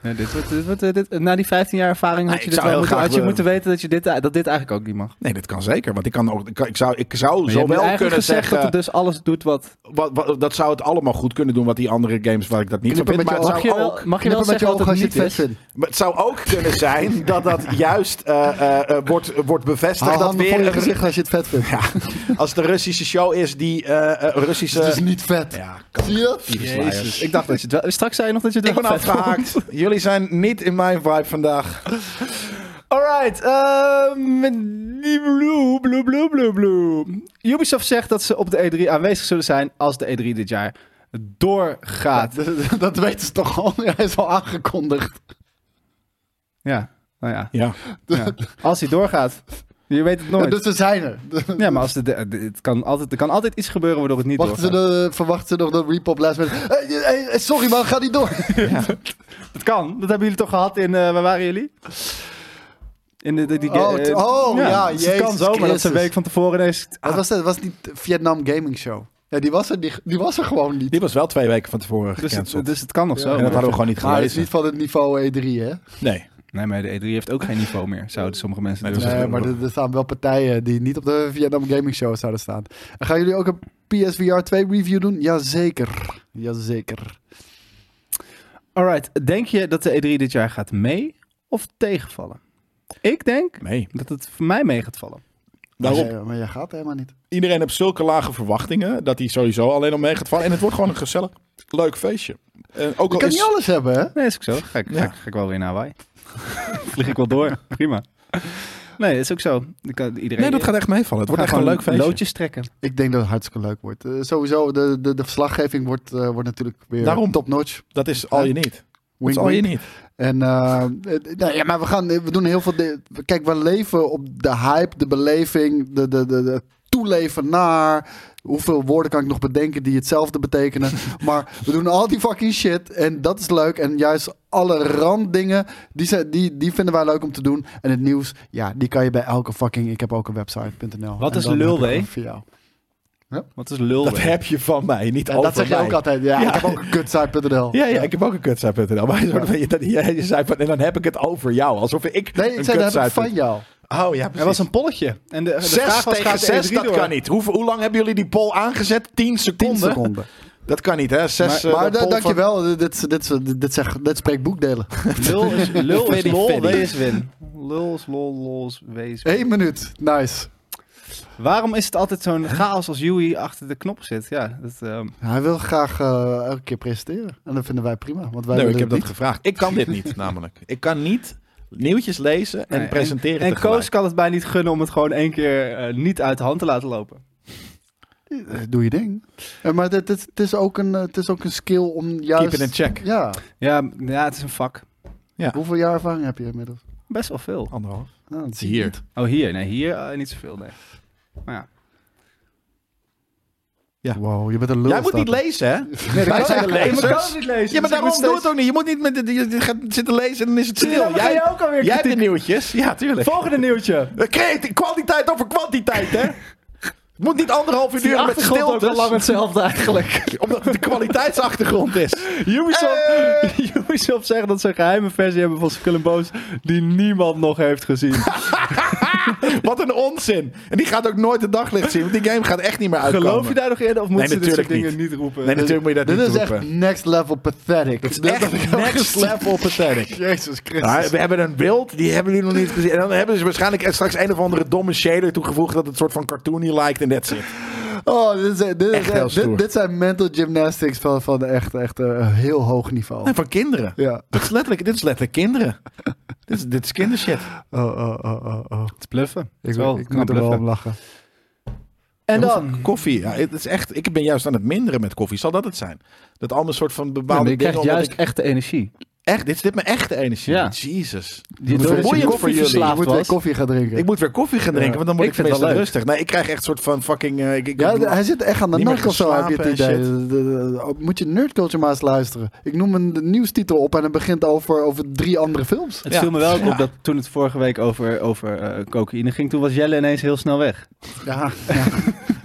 S1: Nee, dit, wordt- dit, wordt- dit- na die 15 jaar ervaring had
S2: Nee,
S1: je,
S2: ik
S1: dit wel
S2: zou heel
S1: moeten,
S2: graag
S1: had je
S2: willen-
S1: moeten weten dat, je dit, dat dit eigenlijk ook niet mag.
S2: Nee, dat kan zeker, want ik, kan ook, ik, kan- ik zou, ik zou
S1: Maar je
S2: zo
S1: hebt nu
S2: wel
S1: eigenlijk
S2: kunnen
S1: gezegd
S2: zeggen,
S1: dat het dus alles doet wat...
S2: wat, wat- dat zou het allemaal goed kunnen doen, wat die andere games waar ik dat niet
S3: Knip
S2: van
S3: een
S2: vind. Maar
S3: beetje
S1: Mag
S2: het, zou
S1: je
S2: ook,
S1: wel, mag je
S3: Knip
S1: wel
S3: hem met je
S1: zeggen dat
S3: ogen
S1: het
S3: als je het
S1: niet is?
S3: vet vindt.
S2: maar het zou ook kunnen zijn <laughs> dat dat juist eh, eh, eh, wordt, wordt bevestigd.
S3: Haal
S2: dat
S3: handen voor
S2: weer
S3: je
S2: een-
S3: gezicht als je het vet vindt.
S2: <laughs> ja, als de Russische show is die eh, eh, Russische...
S3: Het is niet vet.
S2: ja, kan
S3: Zie je dat?
S1: Jezus, ik dacht dat je het wel... Straks zei je nog dat je het
S2: Ik
S1: wel
S2: ben
S1: vet vond.
S2: afgehaakt. Jullie zijn niet in mijn vibe vandaag.
S1: Alright, ehm, die bloe, bloe, bloe, bloe, bloe. Ubisoft zegt dat ze op de E3 aanwezig zullen zijn als de E3 dit jaar doorgaat.
S3: <laughs> Dat, dat weten ze toch al. Hij is al aangekondigd.
S1: Ja, nou ja.
S2: Ja.
S1: ja. Als hij doorgaat. Je weet het nooit.
S3: Dus ze zijn er.
S1: Ja, maar als de, de- de- het kan altijd, er kan altijd iets gebeuren waardoor het niet
S3: Wachten ze
S1: doorgaat.
S3: de- verwachten ze nog dat Repop last minute... Hey, hey, hey, sorry man, ga niet door.
S1: Het kan. Dat hebben jullie toch gehad in... eh, waar waren jullie? In de, de- die,
S3: Oh,
S1: eh,
S3: t- oh, ja,
S1: dus het kan
S3: Jezus
S1: zomaar dat ze een
S3: Christus.
S1: week van tevoren ineens...
S2: Ah.
S3: Wat was dat? Was die Vietnam Gaming Show? Ja, die was er, die, die was er gewoon niet.
S2: Die was wel twee weken van tevoren
S1: Dus
S2: gecanceld.
S1: het, dus het kan nog
S3: Ja.
S1: zo.
S2: en dat hadden we gewoon niet
S3: Maar hij is
S2: gelezen.
S3: niet van het niveau E3, hè?
S2: Nee.
S1: Nee, maar de E3 heeft ook geen niveau meer, zouden sommige mensen
S2: Nee,
S1: durven
S2: het
S1: zeggen.
S3: Nee, maar er, er staan wel partijen die niet op de Vietnam Gaming Show zouden staan. En gaan jullie ook een PSVR 2 review doen? Jazeker. Jazeker.
S1: Alright, denk je dat de E3 dit jaar gaat mee of tegenvallen? Ik denk
S2: Nee.
S1: dat het voor mij mee gaat vallen.
S3: Maar
S2: Daarom,
S3: jij- Maar jij gaat helemaal niet.
S2: iedereen heeft zulke lage verwachtingen dat hij sowieso alleen al mee gaat vallen. En het wordt gewoon een gezellig, leuk feestje. En ook
S3: Je
S2: al
S3: kan
S2: is-
S3: niet alles hebben, hè?
S1: Nee, is ook zo. Ga ik, ga,
S2: Ja.
S1: ik- ga ik wel weer naar Hawaii. <laughs> Vlieg ik wel door. Prima. Nee, is ook zo. Ik kan- Iedereen,
S2: Nee, dat gaat echt meevallen. Het wordt echt
S1: gewoon
S2: een leuk feestje.
S1: Loodjes trekken.
S3: Ik denk dat het hartstikke leuk wordt. Eh, sowieso, de, de, de verslaggeving wordt, eh, wordt natuurlijk weer
S2: Daarom.
S3: top-notch.
S2: Dat is al je niet. Dat
S3: Wink,
S2: is al je
S3: wink.
S2: niet.
S3: En eh, eh, nou ja, maar we gaan, we doen heel veel. di- Kijk, we leven op de hype, de beleving, de, de, de, de toeleven naar. Hoeveel woorden kan ik nog bedenken die hetzelfde
S2: <laughs>
S3: betekenen? maar we doen al die fucking shit. En dat is leuk. En juist alle randdingen, die, zijn, die, die vinden wij leuk om te doen. En het nieuws, ja, die kan je bij elke fucking... Ik heb ook een website.nl.
S1: Wat
S3: En
S1: is
S3: dan heb ik
S1: lulwee?
S3: hem Voor jou.
S1: Wat is lul.
S2: Dat heb je van mij, niet
S3: En
S2: over
S3: dat zeg je
S2: mij.
S3: ook altijd. <laughs> Ja,
S2: Ja.
S3: ik heb ook een kutsite.nl.
S2: Ja, ja, ik heb ook een kutsite.nl. Maar je, je, dat- je- je zei van, en dan heb ik het over jou. Alsof ik
S3: Nee, ik
S2: een
S3: zei dat heb ik
S2: kutsite-
S3: van jou.
S2: Oh ja,
S1: Er
S2: precies.
S1: was een polletje. En de, de
S2: Zes
S1: vraag was,
S3: E
S2: tegen
S1: gaat de
S2: zes,
S1: E3
S2: dat
S1: door?
S2: kan niet. Hoe, hoe lang hebben jullie die poll aangezet? Tien seconden?
S3: 10 seconden.
S2: Dat kan niet, hè? Zes, eh,
S3: Maar
S2: de
S3: da-
S2: poll van-
S3: dankjewel, dit, dit, dit, dit, dit, zegt- dit spreekt boekdelen.
S1: Lul is, lul is
S2: Fiddy
S1: lol,
S2: fiddy.
S1: wee is win. Lul is lol, lol is wee is win.
S3: Eén minuut, nice.
S1: Waarom is het altijd zo'n chaos als Yui achter de knop zit? Ja, dat, ehm,
S3: Hij wil graag eh, elke keer presenteren. En dat vinden wij prima, want wij
S2: Nee, ik heb
S3: willen het
S2: dat
S3: niet.
S2: gevraagd. Ik kan dit niet, <laughs> namelijk. Ik kan niet nieuwtjes lezen en
S1: nee,
S2: presenteren
S1: En, en
S2: tegelijk.
S1: Koos kan het mij niet gunnen om het gewoon één keer eh, niet uit de hand te laten lopen.
S3: Eh, Doe je ding. Eh, maar dit, dit, het, is ook een, eh, het is ook een skill om
S2: Keep
S3: juist...
S2: it in check.
S3: Ja,
S1: Ja, m- ja het is een vak.
S3: hoeveel jaar ervaring heb je inmiddels?
S1: Best wel veel.
S2: Anderhalf.
S3: Nou, dat zie je
S2: Hier.
S3: niet.
S1: Oh, hier. Nee, hier eh, niet zoveel, nee. Maar ja.
S2: Ja.
S3: Wow, je bent een lul.
S2: Jij moet
S3: staat
S2: niet
S3: er.
S2: lezen, hè?
S1: Nee,
S2: Wij zijn de
S1: Ik kan
S2: lezers.
S1: het niet lezen.
S2: Ja,
S1: dus
S2: maar
S1: ik
S2: daarom
S1: moet
S2: doe
S1: steeds-
S2: het ook niet. Je moet niet met de, je, je gaat zitten lezen en dan is het
S1: Ja,
S2: stil.
S1: maar ga
S2: Jij,
S1: je ook alweer
S2: jij hebt de
S1: kritiek-
S2: nieuwtjes. Ja, tuurlijk.
S1: Volgende nieuwtje.
S2: Eh, creati- Kwaliteit over kwantiteit, hè? Het moet niet anderhalf uur
S1: Die
S2: duren met
S1: achtergrond ook al lang
S2: stilte.
S1: hetzelfde eigenlijk.
S2: Omdat het de kwaliteitsachtergrond is.
S1: <laughs> Ubisoft,
S2: Hey!
S1: <laughs> Ubisoft zegt dat ze een geheime versie hebben van Skull and Bones die niemand nog heeft <laughs> gezien.
S2: Wat een onzin. En die gaat ook nooit het daglicht zien. Want die game gaat echt niet meer uitkomen.
S1: Geloof je daar nog in of moeten ze dit soort
S2: natuurlijk
S1: dingen niet, roepen?
S2: Nee, natuurlijk moet je dat
S3: Dit
S2: niet
S3: is echt
S2: roepen.
S3: next level pathetic.
S2: Het is echt next level pathetic.
S3: Jezus
S2: Ja,
S3: Christus.
S2: we hebben een beeld, die hebben jullie nog niet gezien. En dan hebben ze waarschijnlijk straks een of andere domme shader toegevoegd... dat het soort van cartoony lijkt en that's it.
S3: <laughs> Oh, dit, is, dit, is
S2: Echt heel
S3: echt- dit-
S2: stoer.
S3: dit zijn mental gymnastics van, van echt, echt eh, heel hoog niveau.
S2: Nee, van kinderen.
S3: Ja.
S2: Dit, is letterlijk, dit is letterlijk kinderen. dit, is, dit is kindershit.
S3: Oh, oh, oh, oh, oh.
S1: Het is bluffen.
S3: Ik, wil- ik moet er wel om lachen.
S1: En
S2: Hoeveel
S1: dan?
S2: Koffie. Ja, het is echt, ik ben juist aan het minderen met koffie. Zal dat het zijn? Dat allemaal soort van
S1: Ja,
S2: bepaalde
S1: maar je
S2: dingen...
S1: krijgt
S2: omdat
S1: juist
S2: ik-
S1: echte energie.
S2: echt, dit is dit mijn echte energie.
S1: Ja.
S2: Jezus.
S1: Die
S2: Hoe
S1: door
S2: vermoeiend
S1: je
S2: voor
S1: koffie
S2: jullie.
S1: verslaafd
S3: Je moet weer
S1: was.
S3: koffie gaan drinken.
S2: Ik moet weer koffie gaan drinken,
S1: Ja.
S2: want dan
S1: Ik
S2: word ik,
S1: vind het
S2: tenminste
S1: wel
S2: rustig. Nee, ik krijg echt soort van fucking... eh, ik, ik,
S3: Ja, d- hij zit echt aan de
S2: Niet meer
S3: nak of zo, heb je het idee.
S2: geslapen
S3: De- de- de- Moet je Nerdculture maar eens luisteren. Ik noem een de nieuwstitel op en het begint over, over drie andere films.
S1: Het
S2: Ja.
S1: viel me wel ook
S2: Ja.
S1: op dat toen het vorige week over, over eh, cocaïne ging, toen was Jelle ineens heel snel weg.
S3: Ja,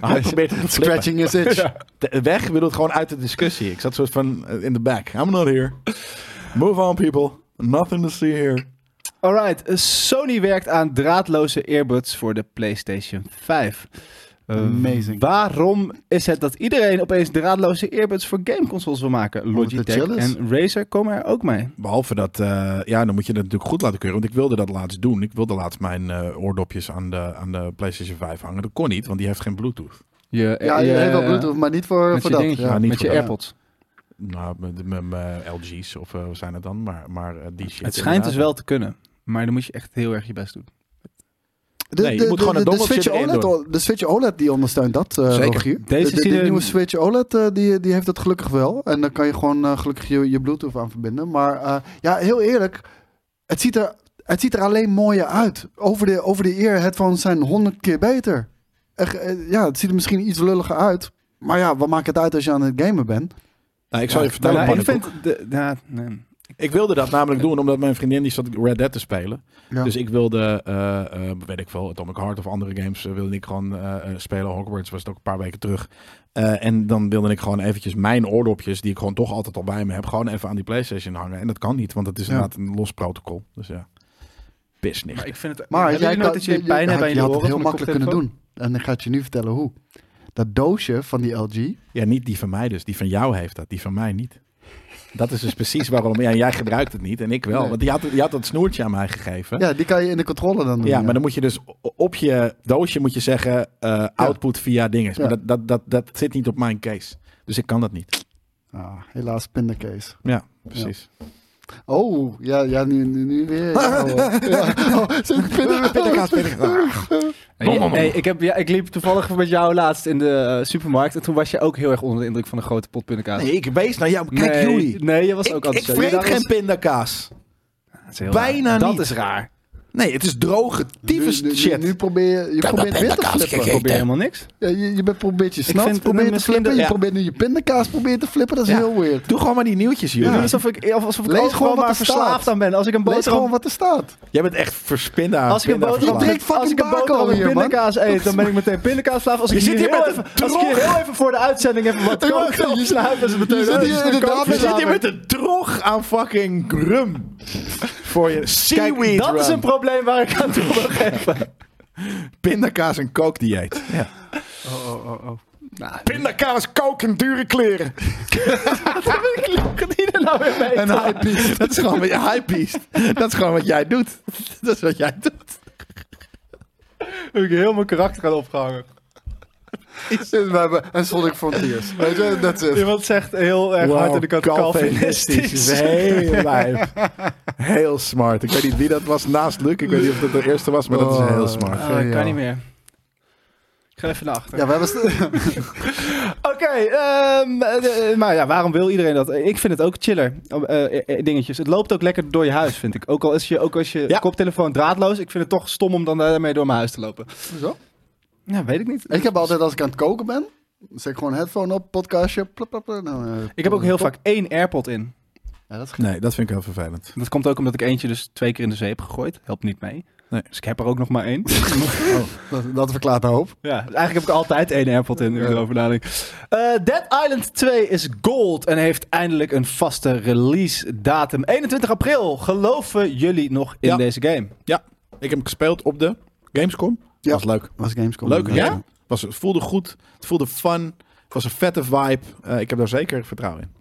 S2: hij
S1: <laughs>
S2: probeert het te flippen.
S3: scratching is it.
S2: Te- weg wil het gewoon uit de discussie. Ik zat soort van eh, in de back. I'm not here. Move on, people. Nothing to see here.
S1: Alright, eh, Sony werkt aan draadloze earbuds voor de PlayStation 5. Eh,
S3: Amazing.
S1: Waarom is het dat iedereen opeens draadloze earbuds voor gameconsoles wil maken?
S3: Omdat het
S1: Logitech
S3: chill is.
S1: en Razer komen er ook mee.
S2: Behalve dat, eh, ja, dan moet je dat natuurlijk goed laten keuren. Want ik wilde dat laatst doen. Ik wilde laatst mijn eh, oordopjes aan de, aan de PlayStation 5 hangen. Dat kon niet, want die heeft geen Bluetooth.
S1: Je,
S3: Ja, je hebt wel Bluetooth, maar niet voor,
S1: met
S3: voor
S1: je
S3: dat.
S1: dingetje,
S3: Ja.
S2: Ja, niet
S1: met je
S2: voor dat.
S1: AirPods.
S2: Nou, met- met mijn LG's of eh, wat zijn het dan? Maar, maar eh, die shit.
S1: Het schijnt dus
S2: inderdaad.
S1: wel te kunnen, maar dan moet je echt heel erg je best doen.
S3: Nou, De,
S2: Nee, je moet gewoon een dongeltje
S3: Switch
S2: erin
S3: OLED,
S2: doen.
S3: o- de Switch OLED die ondersteunt dat, eh
S2: Zeker.
S3: Rogier.
S1: Deze
S3: de, de-
S1: zien
S3: die
S1: er-
S3: nieuwe Switch OLED eh, die, die heeft dat gelukkig wel. En dan kan je gewoon eh, gelukkig je, je Bluetooth aan verbinden. Maar eh, ja, heel eerlijk, het ziet er, het ziet er alleen mooier uit. Over de, over de ear headphones zijn honderd keer beter. Echt, eh, ja, het ziet er misschien iets lulliger uit. Maar ja, wat maakt het uit als je aan het gamen bent?
S2: Nou, ik zal je
S3: Ja,
S2: vertellen.
S1: Nou, ik
S2: Pannenkoek.
S1: vind... De, ja, nee.
S2: Ik wilde dat namelijk doen, omdat mijn vriendin die zat Red Dead te spelen.
S3: Ja.
S2: Dus ik wilde, eh, eh, weet ik veel, Atomic Heart of andere games eh, wilde ik gewoon eh, eh, spelen. Hogwarts was het ook een paar weken terug. Eh, en dan wilde ik gewoon eventjes mijn oordopjes, die ik gewoon toch altijd al bij me heb, gewoon even aan die Playstation hangen. En dat kan niet, want het is
S3: Ja.
S2: inderdaad een los protocol. Dus ja, pis niet.
S1: Maar ik vind het...
S3: Maar
S1: Hebben
S3: jij
S1: jullie nooit
S3: kan,
S1: dat je pijn hebt aan
S3: je
S1: je
S3: had het
S1: oren
S3: heel
S1: van een
S3: makkelijk kunnen doen. En ik ga het je nu vertellen hoe. Dat doosje van die LG,
S2: Ja, niet die van mij dus. Die van jou heeft dat, die van mij niet. Dat is dus precies waarom. Ja, jij gebruikt het niet en ik wel.
S3: Nee.
S2: Want je had, je had dat snoertje aan mij gegeven.
S3: ja, die kan je in de controller dan doen.
S2: Ja, maar dan moet je dus op je doosje moet je zeggen eh, output via dinges. Maar
S3: Ja.
S2: dat, dat, dat, dat zit niet op mijn case. Dus ik kan dat niet.
S3: Ah, helaas pindakaas.
S2: Ja, precies.
S3: Oh, ja, ja nu, nu, nu weer.
S1: <laughs>
S3: Ja, hoor. Ja. Oh, zit ik binnen-
S2: Pindakaas, pindakaas.
S1: Ah,
S2: Bom, bom, bom.
S1: Hey, ik, heb, ja, ik liep toevallig met jou laatst in de eh, supermarkt en toen was je ook heel erg onder de indruk van de grote pot pindakaas.
S2: Nee, ik wees naar jou. Kijk
S1: nee,
S2: jullie.
S1: Nee, je was
S2: ik,
S1: ook
S2: ik
S1: enthousiast.
S2: vreet
S1: Ja, dat
S2: geen
S1: was-
S2: pindakaas.
S1: dat is heel
S2: bijna
S1: raar.
S2: niet.
S1: Dat is raar.
S2: Nee, het is droge,
S3: nu,
S2: tyfus
S3: nu- nu-
S2: shit.
S3: Nu probeer je, je probeert weer te flippen.
S1: probeer helemaal niks.
S3: Ja, je, je bent- probeert je
S1: vind
S3: snaps
S1: het
S3: probeert te
S1: misschien
S3: flippen.
S1: dat-
S3: Je
S1: ja.
S3: probeert nu je pindakaas probeert te flippen. Dat is
S2: Ja.
S3: heel weird.
S2: Doe gewoon maar die nieuwtjes, jullie.
S1: Doe Alsof ik, alsof ik
S3: Lees
S1: overal
S3: gewoon wat
S1: maar
S3: er
S1: verslaafd
S3: staat.
S1: aan ben. Als ik een
S3: Lees gewoon
S1: boterham...
S3: wat er staat.
S2: Jij bent echt verspinden aan
S1: Als ik een
S2: spinden aan
S1: boterham
S3: verslaafd.
S1: drink,
S3: Drink
S1: als ik een
S3: fucking
S1: boterham
S3: Barco
S1: met
S3: hier, man.
S1: pindakaas eet, dan ben ik meteen pindakaasverslaafd. Als ik
S2: zit
S1: hier
S2: hier
S1: heel
S2: met
S1: even,
S2: een
S1: als ik hier heel even voor de uitzending even wat
S3: Ik wou
S1: kook op
S3: zeggen, je-
S1: slaap, is het meteen...
S3: je zit
S1: eh,
S3: hier
S1: is het
S3: inderdaad
S1: kook-
S2: Je
S3: met
S2: zit hier
S3: verslaafd.
S2: met een drog aan fucking rum. Voor je seaweed
S1: Kijk, dat is
S2: rum.
S1: een probleem waar ik aan toe wil geven. <laughs>
S2: Pindakaas en kook dieet. Ja.
S3: Oh, oh, oh, oh.
S2: Pindakaas, kook en dure kleren.
S1: Wat gaat die er nou weer mee?
S2: <laughs> En high beast. Dat is gewoon wat je high beast. Dat is gewoon wat jij doet. <laughs> Dat is wat jij doet.
S1: Heb ik heel mijn karakter aan opgehangen.
S3: Dus En Sonic Frontiers. <laughs> Weet je, that's it.
S1: Iemand zegt heel erg hard in de kat Calvinistisch.
S2: <laughs> Heel lijf. Heel smart. Ik weet niet wie dat was naast Luc. Ik weet niet of dat de eerste was, maar
S3: Oh.
S2: dat is heel smart.
S1: Ah, ik
S3: ja.
S1: kan niet meer. Ik ga even naar achter.
S3: Ja, we hebben... st- <laughs>
S1: Oké, ehm, eh, eh, maar ja, waarom wil iedereen dat? Eh, Ik vind het ook chiller, eh, eh, eh, dingetjes. Het loopt ook lekker door je huis, vind ik. Ook al is je, ook als je
S2: Ja.
S1: koptelefoon draadloos, ik vind het toch stom om dan daarmee door mijn huis te lopen.
S3: Hoezo?
S1: Ja, weet ik niet.
S3: Ik heb altijd, als ik aan het koken ben, zet ik gewoon headphone op, podcastje. Plop, plop, plop, nou, eh,
S1: Ik heb ook heel vaak één AirPod in.
S3: Ja, dat is
S2: Nee, dat vind ik heel vervelend.
S1: Dat komt ook omdat ik eentje dus twee keer in de zee heb gegooid. Helpt niet mee.
S2: Nee.
S1: Dus ik heb er ook nog maar één.
S3: Dat, dat verklaart een hoop.
S1: Ja, eigenlijk heb ik altijd één AirPod in, nu ik
S3: Ja.
S1: erover nadenk. Eh, Dead Island 2 is gold en heeft eindelijk een vaste release datum. 21 april. Geloven jullie nog in
S2: Ja.
S1: deze game?
S2: Ja, ik heb hem gespeeld op de Gamescom.
S3: Ja.
S2: was leuk.
S3: Was Gamescom.
S2: Leuk,
S3: inderdaad.
S2: ja? Was, het voelde goed. Het voelde fun. Het was een vette vibe. Eh, ik heb daar zeker vertrouwen in.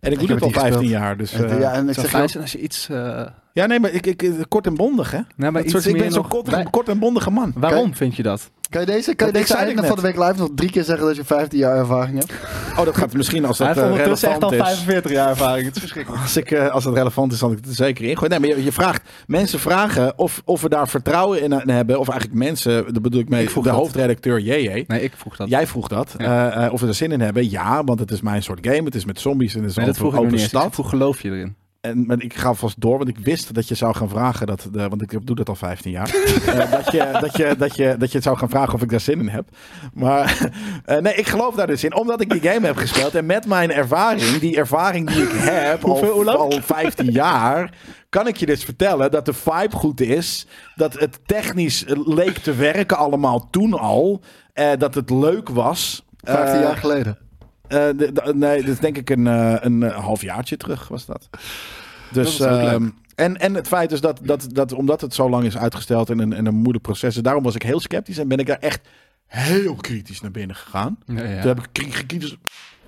S2: En ik doe
S3: heb
S2: dit
S3: het
S2: al
S3: niet
S2: 15
S3: gespeeld.
S2: jaar, dus...
S3: En,
S2: eh,
S3: ja, en ik
S1: Het zou
S3: zeg
S1: fijn
S3: jou,
S1: zijn als je iets... eh,
S2: Ja, nee, maar ik, ik, kort en bondig, hè?
S1: nou, maar
S2: Dat
S1: iets
S2: soort- ik
S1: meer
S2: ben zo'n
S1: nog-
S2: kort,
S1: Wij-
S2: kort en bondige man.
S1: Waarom vind je dat?
S3: kan je deze, kan je
S2: Dat- ik zei
S3: deze
S2: het
S3: einde van de week live nog drie keer zeggen dat je 15 jaar ervaring hebt?
S2: <laughs> Oh, dat gaat misschien als
S1: Hij
S2: dat
S1: heeft
S2: eh,
S1: ondertussen echt al
S2: relevant is.
S1: 45 jaar ervaring. Het is verschrikkelijk.
S2: Als, ik, eh, als dat relevant is, dan ik het er zeker in. gooien. Nee, maar je, je vraagt, mensen vragen of, of we daar vertrouwen in eh, hebben. Of eigenlijk mensen, daar bedoel ik mee,
S1: Ik vroeg
S2: de
S1: dat.
S2: hoofdredacteur JJ.
S1: Nee, ik vroeg dat.
S2: Jij vroeg dat. eh, eh, of we er zin in hebben. Ja, want het is mijn soort game. Het is met zombies en het is
S1: nee, dat
S2: een
S1: vroeg ik nog
S2: open
S1: niet eens. Ik
S2: stad.
S1: vroeg geloof je erin?
S2: En maar ik ga vast door, want ik wist dat je zou gaan vragen, dat, de- want ik doe dat al 15 jaar, <laughs> Eh, dat, je, dat, je, dat, je, dat je het zou gaan vragen of ik daar zin in heb. Maar <laughs> eh, nee, ik geloof daar dus in, omdat ik die game heb gespeeld en met mijn ervaring, die ervaring die ik
S1: <laughs>
S2: heb
S1: Hoeveel- hoe
S2: al,
S1: lang?
S2: al 15 jaar, kan ik je dus vertellen dat de vibe goed is, dat het technisch eh, leek te werken allemaal toen al, eh, dat het leuk was.
S3: 15
S2: Eh,
S3: jaar geleden.
S2: eh, de- de- nee, dat is denk ik een, eh, een eh, halfjaartje terug was dat. Dus,
S1: Dat is ook
S2: ehm, en, en het feit is dat, dat, dat omdat het zo lang is uitgesteld en een, en een moeilijk proces is, daarom was ik heel sceptisch en ben ik daar echt heel kritisch naar binnen gegaan.
S1: Ja, ja.
S2: Toen heb ik kri- gekritisch,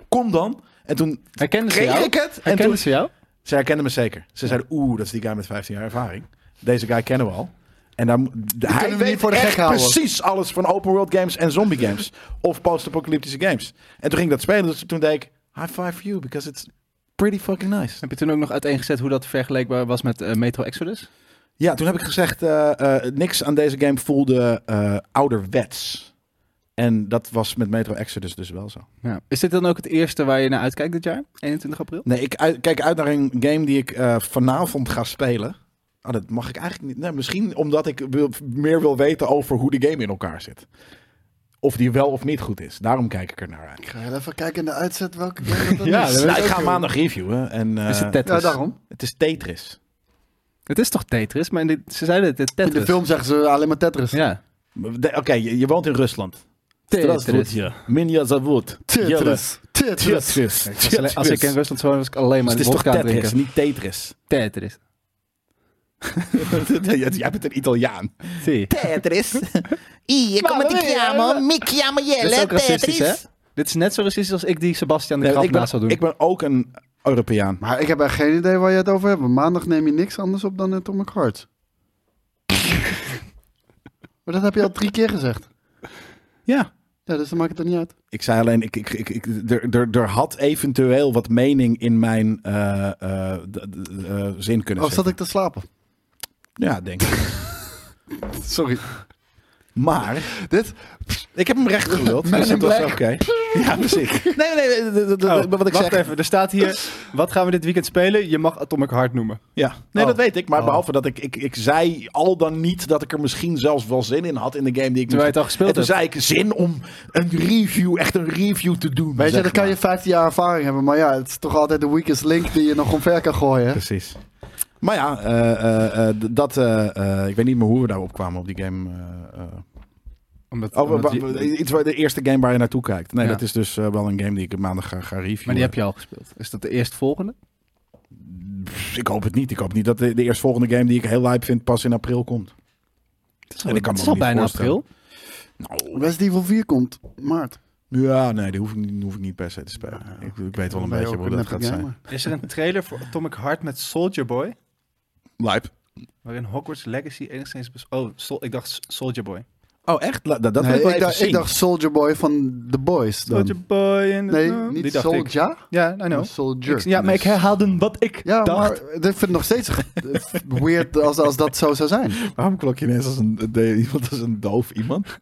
S2: kom dan. En toen
S1: Herkenden ze
S2: kreeg
S1: jou?
S2: ik het. En
S1: Herkenden
S2: toen,
S1: ze jou?
S2: ze herkenden me zeker. Ze zeiden, oeh, dat is die guy met 15 jaar ervaring. Deze guy kennen we al. En daar, mo- hij
S3: hem niet
S2: weet
S3: voor de
S2: echt
S3: gek houden.
S2: precies alles van open world games en zombie games.
S3: <laughs>
S2: Of post-apocalyptische games. En toen ging ik dat spelen. Dus toen deed ik, high five you, because it's pretty fucking nice.
S1: Heb je toen ook nog uiteengezet hoe dat vergelijkbaar was met eh, Metro Exodus?
S2: Ja, toen heb ik gezegd, eh, eh, niks aan deze game voelde eh, ouderwets. En dat was met Metro Exodus dus wel zo.
S1: Ja. Is dit dan ook het eerste waar je naar uitkijkt dit jaar? 21 april?
S2: Nee, ik uit- kijk uit naar een game die ik eh, vanavond ga spelen. Ah, dat mag ik eigenlijk niet. Nee, misschien omdat ik wil, meer wil weten over hoe de game in elkaar zit. Of die wel of niet goed is. Daarom kijk ik er naar uit.
S3: Ik ga heel even kijken in de uitzet welke game <laughs> dat dan
S1: Ja,
S3: is.
S1: dat
S2: Nou, ik ga maandag reviewen. En, eh,
S1: is het Tetris?
S3: Ja, daarom.
S2: het is Tetris.
S1: Het is toch Tetris? Maar in dit- ze zeiden het, het
S3: In
S1: Tetris.
S3: de film zeggen ze alleen maar Tetris.
S1: Ja.
S2: De- Oké, je, je woont in Rusland.
S1: Tetris.
S2: Strasbourg, Minja Zavod.
S3: Tetris. Tetris.
S2: Tetris. Dus
S1: Kijk, ik was alleen- Als ik in Rusland zou wonen, was ik alleen maar
S2: Het
S1: de
S2: is toch
S1: vodka aan Dus het
S2: Tetris,
S1: drinken.
S2: niet Tetris. <laughs>
S1: Tetris.
S2: Jij bent een Italiaan.
S1: Zie.
S2: Tetris.
S4: Io come ti
S1: vabbè,
S4: chiamo?
S1: eh,
S4: Mi chiamo
S1: Dit is
S4: Iele
S1: ook racistisch, hè?
S4: Tetris.
S1: Dit is net zo racistisch als ik die Sebastian de
S2: Nee,
S1: Graf
S2: ik, ben,
S1: naast zou doen.
S2: ik ben ook een Europeaan.
S3: Maar ik heb echt geen idee waar je het over hebt. want Maandag neem je niks anders op dan Atomic
S2: <laughs>
S3: Heart. maar dat heb je al drie keer gezegd.
S2: Ja.
S3: Ja, dus dan maakt het er niet uit.
S2: Ik zei alleen, ik, ik, ik, ik- er, er, er had eventueel wat mening in mijn eh, eh, d- d- eh, zin kunnen
S3: Of
S2: zitten.
S3: zat ik te slapen?
S2: Ja, denk ik.
S3: Sorry.
S2: Maar
S3: Dit?
S2: ik heb hem recht geluld.
S3: Men
S2: Dus
S3: in
S2: dat was oké. Oh,
S3: Black.
S2: <laughs> Ja, precies. Nee, nee, nee, d- d- d-
S1: Oh,
S2: wat ik
S1: wacht
S2: zeg.
S1: even, er staat hier, wat gaan we dit weekend spelen? Je mag Atomic Heart noemen.
S2: Ja, nee,
S3: Oh.
S2: dat weet ik. Maar
S3: Oh.
S2: behalve dat ik, ik, ik zei al dan niet dat ik er misschien zelfs wel zin in had in de game die ik
S1: Terwijl je het al gespeeld
S2: En toen
S1: hebt.
S2: zei ik zin om een review, echt een review te doen.
S3: Weet je,
S2: zeg
S3: dan kan
S2: maar.
S3: je 15 jaar ervaring hebben, maar ja, het is toch altijd de weakest link die je nog omver kan gooien.
S2: Precies. Maar ja, eh, eh, eh, d- dat, eh, eh, ik weet niet meer hoe we daarop kwamen op die game. eh, eh.
S1: Omdat,
S2: Oh, wa-
S1: omdat
S2: wa-
S1: je-
S2: iets waar de eerste game waar je naartoe kijkt. Nee,
S1: Ja.
S2: dat is dus eh, wel een game die ik maandag ga, ga reviewen.
S1: maar die heb je al gespeeld. Is dat de eerstvolgende?
S2: Pff, Ik hoop het niet. Ik hoop niet dat de, de eerstvolgende game die ik heel hype vind pas in april komt.
S1: Het is
S2: al- het
S1: is al bijna april.
S2: Nou,
S3: Resident Evil 4 komt maart.
S2: ja, nee, die hoef ik, niet- die hoef ik niet per se te spelen. Ik, ik weet wel een
S3: Ben je
S2: beetje
S3: ook
S2: hoe
S3: een
S2: dat gaat
S3: nette
S2: zijn.
S3: gamer?
S1: Is er een trailer voor Atomic Heart met Soldier Boy?
S2: Lijp.
S1: Waarin Hogwarts Legacy enigszins... bes- Oh, Sol- ik dacht Soldier Boy.
S2: Oh, echt? La- dat dat
S3: Nee,
S2: wil ik wel
S3: ik,
S2: even
S3: dacht,
S2: zien.
S3: ik dacht Soldier Boy van The Boys dan.
S1: Soldier Boy in the-
S3: Nee,
S1: Die
S3: niet
S1: dacht ik.
S3: Soldier,
S1: Ja, I know.
S3: maar Soldier.
S1: Ik- ja, maar ik herhaalde wat ik
S3: Ja,
S1: dacht.
S3: maar ik vind het nog steeds weird als, als dat zo zou zijn.
S2: Waarom klok je ineens als een, de- iemand als een doof <laughs> iemand?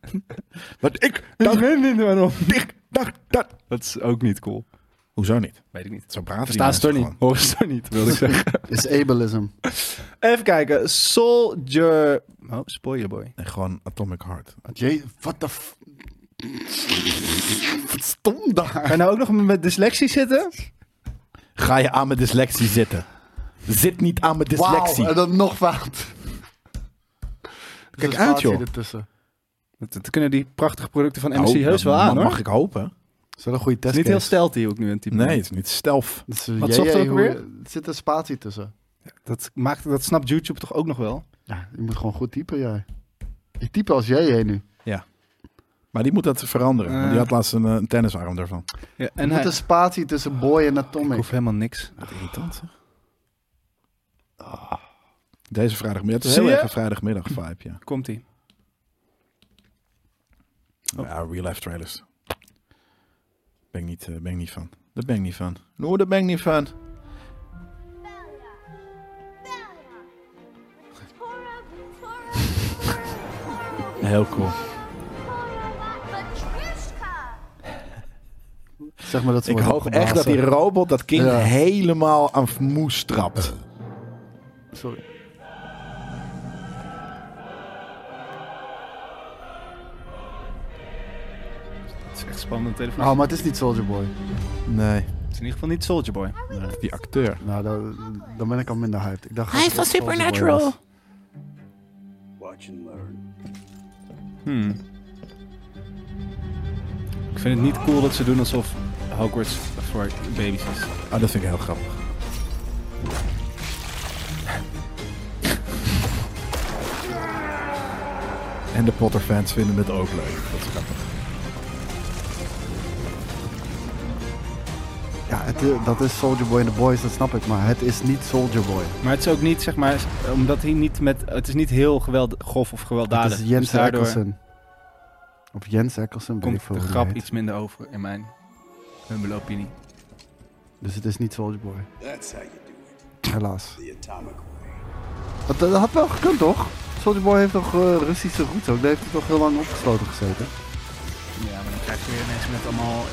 S2: Wat ik
S1: Ik
S2: dacht,
S1: weet niet <laughs> waarom.
S2: ik dacht dat.
S1: Dat is ook niet cool.
S2: Hoezo niet?
S1: Weet ik niet.
S2: Zo praten
S1: Verstaan ze
S2: die
S1: toch
S2: mensen
S1: niet? Horen ze toch niet, wilde ik zeggen.
S3: Is ableism.
S1: <laughs> Even kijken. Soldier... Oh, Spoiler Boy.
S2: gewoon. Nee, gewoon Atomic Heart.
S3: Jee, wat de f... Wat stom daar.
S1: Ga je nou ook nog met dyslexie zitten?
S2: Ga je aan mijn dyslexie zitten? Zit niet aan mijn dyslexie.
S3: en dan nog fout.
S2: Kijk uit, joh.
S3: Ertussen.
S1: Dat, dat kunnen die prachtige producten van MC
S2: Nou,
S1: heus wel
S2: dat
S1: aan,
S2: mag
S1: hoor.
S2: ik hopen.
S3: Dat is wel een goede
S1: Het
S3: test.
S1: is niet heel stealthy hoe ik nu aan het typen ben.
S2: Nee, het is niet stelf.
S1: Wat zocht er ook
S3: Er zit een spatie tussen.
S1: Dat, maakt, dat snapt YouTube toch ook nog wel?
S3: Ja, je moet gewoon goed typen, jij. Ik type als jij nu.
S2: Maar die moet dat veranderen. want die
S1: Eh.
S2: had laatst een, eh, een tennisarm daarvan.
S1: Ja,
S3: Er
S1: en
S3: moet
S1: hij,
S3: een spatie tussen boy en
S1: ik
S3: atomic.
S1: hoef helemaal niks.
S2: Wat irritant, zeg. Ah. Deze vrijdagmiddag. Het is
S1: Zie
S2: heel
S1: je?
S2: erg een vrijdagmiddag vibe, ja.
S1: Komt ie.
S2: Ja, real life trailers. Ben ik niet, eh, ben ik niet van. Dat ben ik niet van. No, dat Nou, ben ik niet van. Heel cool.
S3: Zeg maar dat ze
S2: Ik
S3: wordt
S2: hoop echt dat
S3: opgeblazen.
S2: die robot dat kind
S3: Ja.
S2: helemaal aan moes trapt.
S3: Sorry.
S1: Het is echt spannende telefoon.
S3: Oh, maar het is niet Soldier Boy.
S2: Nee.
S1: Het is in ieder geval niet Soldier Boy.
S2: Die acteur.
S3: Nou, dan, dan ben ik al minder hyped. Ik dacht Hij is van Supernatural.
S1: Hmm. Ik vind het niet cool dat ze doen alsof Hogwarts voor baby's is.
S2: Ah, dat vind ik heel grappig. En de Potter fans vinden het ook leuk. Dat is grappig.
S3: Ja, het, eh, dat is Soldier Boy en The Boys, dat snap ik. Maar het is niet Soldier Boy.
S1: Maar het is ook niet, zeg maar, omdat hij niet met... Het is niet heel geweld, grof of gewelddadig.
S3: Het is
S1: Dus
S3: Jens
S1: daardoor
S3: Ekkelsen. Of Jens Ekkelsen, weet ik
S1: komt
S3: veel
S1: de
S3: hoe die
S1: grap
S3: heet.
S1: iets minder over, in mijn humble opinie.
S3: Dus het is niet Soldier Boy,
S4: That's how you do it,
S3: helaas.
S4: the atomic way.
S3: Dat, dat had wel gekund, toch? Soldier Boy heeft toch eh, Russische roots ook? Daar heeft hij toch heel lang opgesloten gezeten?
S1: Ja, maar dan krijg je weer mensen met allemaal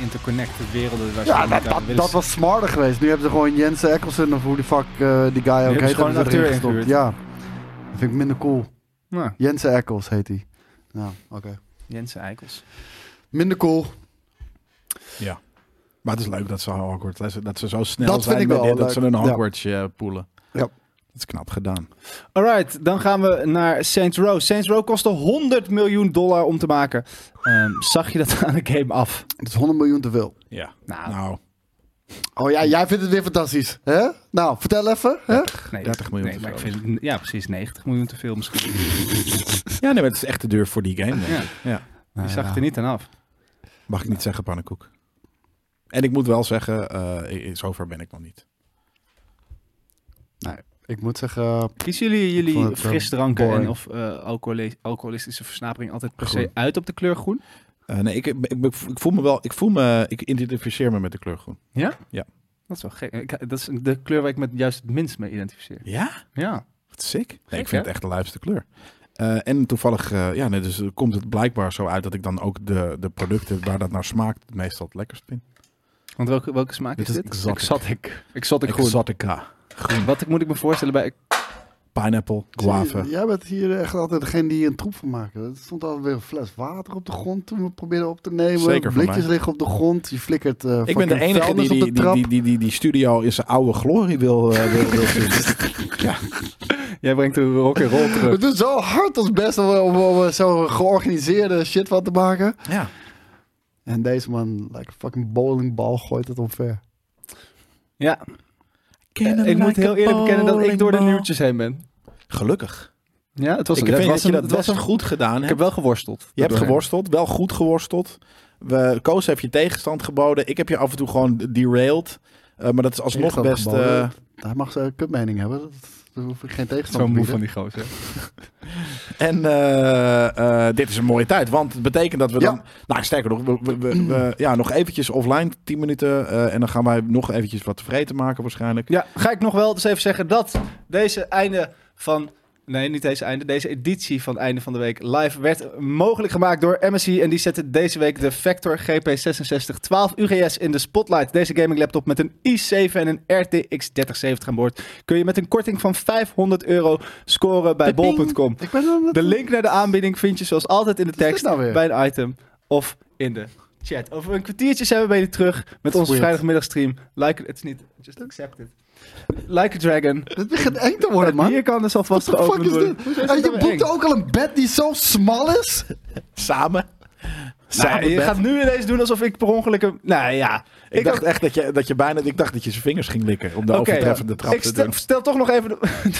S1: interconnected werelden. Waar ze
S3: Ja,
S1: elkaar
S3: dat, dat,
S1: willen
S3: dat was smarter geweest. Nu hebben ze gewoon Jens Ekkelsen of hoe die fuck eh, die guy ook
S1: hebben ze
S3: heet.
S1: gewoon een
S3: hebben ze
S1: acteur
S3: erin gestopt.
S1: ingehuurd.
S3: Ja, dat vind ik minder cool.
S1: Nou,
S3: Jens Ekkels heet hij. Ja, oké.
S1: Jensen Eikels.
S3: Minder cool.
S2: Ja. Maar het is leuk dat ze Hogwarts, dat ze, dat ze zo snel
S3: Dat
S2: zijn
S3: vind ik
S2: met
S3: wel
S2: dit, dat
S3: leuk.
S2: ze een
S3: Ja.
S2: Hogwarts eh, poelen.
S3: Ja.
S2: Dat is knap gedaan.
S1: Alright, dan gaan we naar Saints Row. Saints Row kostte 100 miljoen dollar om te maken. Ehm, zag je dat aan de game af?
S3: Dat is 100 miljoen te veel.
S2: Ja.
S1: Nou.
S2: Nou,
S3: Oh ja, jij vindt het weer fantastisch. Hè? Nou, vertel even. Hè?
S1: Nee,
S2: 30 miljoen
S1: Nee,
S2: te
S1: maar ik
S2: veel.
S1: vind, het- ja, precies 90 miljoen te veel misschien.
S2: Ja, nee, maar het is echt te duur voor die game. denk
S1: Ja.
S2: ik. Ja.
S1: Je zag het er niet aan af.
S2: Mag ik niet zeggen pannenkoek. En ik moet wel zeggen, eh, zover ben ik nog niet.
S3: Nee, ik moet zeggen, eh,
S1: Kiezen jullie
S3: vond
S1: jullie
S3: het, eh,
S1: frisdranken en
S3: boring.
S1: of eh, alcoholi- alcoholistische versnapering altijd per se
S2: Groen.
S1: uit op de kleur groen?
S2: Eh, nee, ik, ik, ik, ik voel me wel, ik voel me, ik identificeer me met de kleur groen.
S1: Dat is wel gek. Ik- dat is de kleur waar ik me juist het minst mee identificeer.
S2: Ja?
S1: Ja.
S2: Wat sick. Nee,
S1: Gek,
S2: ik vind
S1: hè?
S2: het echt de luipste kleur. Eh, en toevallig eh, ja, nee, dus komt het blijkbaar zo uit dat ik dan ook de, de producten waar dat naar smaakt het meestal het lekkerst vind.
S1: Want welke, welke smaak
S2: Dit
S1: is
S2: is
S1: dit?
S2: exotic.
S1: Exotic. Exotic groen.
S2: Exotica,
S1: Wat ik, moet ik me voorstellen bij...
S2: pineapple, guava.
S3: Zie je, Jij bent hier echt altijd degene die een troep van maakt. Er stond altijd weer een fles water op de grond toen we probeerden op te nemen.
S2: Zeker van
S3: Blikjes
S2: mij.
S3: liggen op de grond. Je flikkert eh
S2: Ik ben de
S3: fucking
S2: enige die
S3: vuilnis
S2: die,
S3: op de
S2: die,
S3: trap.
S2: die, die, die, die studio in zijn oude glorie wil, eh, wil,
S1: <laughs>
S2: wil zien.
S1: Jij brengt de rock and roll
S2: <laughs>
S1: terug.
S3: We doen zo hard ons best om, om, om zo georganiseerde shit van te maken.
S2: Ja.
S3: En deze man, like een fucking bowlingbal, gooit het omver.
S1: Ja, eh, ik moet heel eerlijk bekennen dat ik door de nieuwtjes heen ben.
S2: Gelukkig.
S1: Ja, het was
S2: Ik
S1: een, het
S2: vind
S1: was
S2: dat je
S1: een-
S2: dat
S1: het was
S2: best
S1: een-
S2: goed gedaan
S1: Ik
S2: hebt.
S1: heb wel geworsteld.
S2: Je hebt
S1: Daardoor.
S2: geworsteld, wel goed geworsteld. We, Koos heeft je tegenstand geboden. Ik heb je af en toe gewoon derailed. Eh, maar dat is alsnog
S3: Tegenstand
S2: best...
S3: geboden.
S2: eh,
S3: Hij mag zijn kutmening hebben. Dat, daar hoef ik geen tegenstand
S1: Zo'n
S3: te
S1: moe
S3: bieden.
S1: van die gozer.
S2: en eh, eh, dit is een mooie tijd. Want het betekent dat we
S3: Ja.
S2: dan... Nou, sterker nog. We, we- we- we- ja, nog eventjes offline. 10 minuten. eh, en dan gaan wij nog eventjes wat tevreden maken waarschijnlijk.
S1: Ja, ga ik nog wel eens even zeggen dat deze einde van. Nee, niet deze einde. Deze editie van Einde van de Week live werd mogelijk gemaakt door MSI. En die zette deze week de Vector GP66 12 UGS in de spotlight. Deze gaming laptop met een i7 en een RTX 3070 aan boord. Kun je met een korting van 500 euro scoren bij
S3: Ping.
S1: bol.com.
S3: Ik ben dan
S1: De link naar de aanbieding vind je zoals altijd in de
S3: Wat is dit
S1: tekst,
S3: nou weer?
S1: bij een item of in de chat. Over een kwartiertje zijn we bij jullie terug met onze
S3: weird.
S1: vrijdagmiddagstream. Like it, it's niet, just accept it. Like a dragon.
S3: Dit begint eng te worden, man.
S1: Hier kan dus alvast
S3: What the fuck
S1: geopend
S3: is
S1: worden.
S3: dit? En je boekt ook al een bed die zo smal is?
S2: Samen.
S1: Nou, je gaat nu ineens doen alsof ik per ongeluk een... Nou ja.
S2: Ik, dacht
S1: had-
S2: echt dat je, dat je bijna... Ik dacht dat je zijn vingers ging likken. Om de
S1: Oké,
S2: overtreffende trap
S1: ik
S2: te
S1: stel,
S2: doen.
S1: stel toch nog even. de-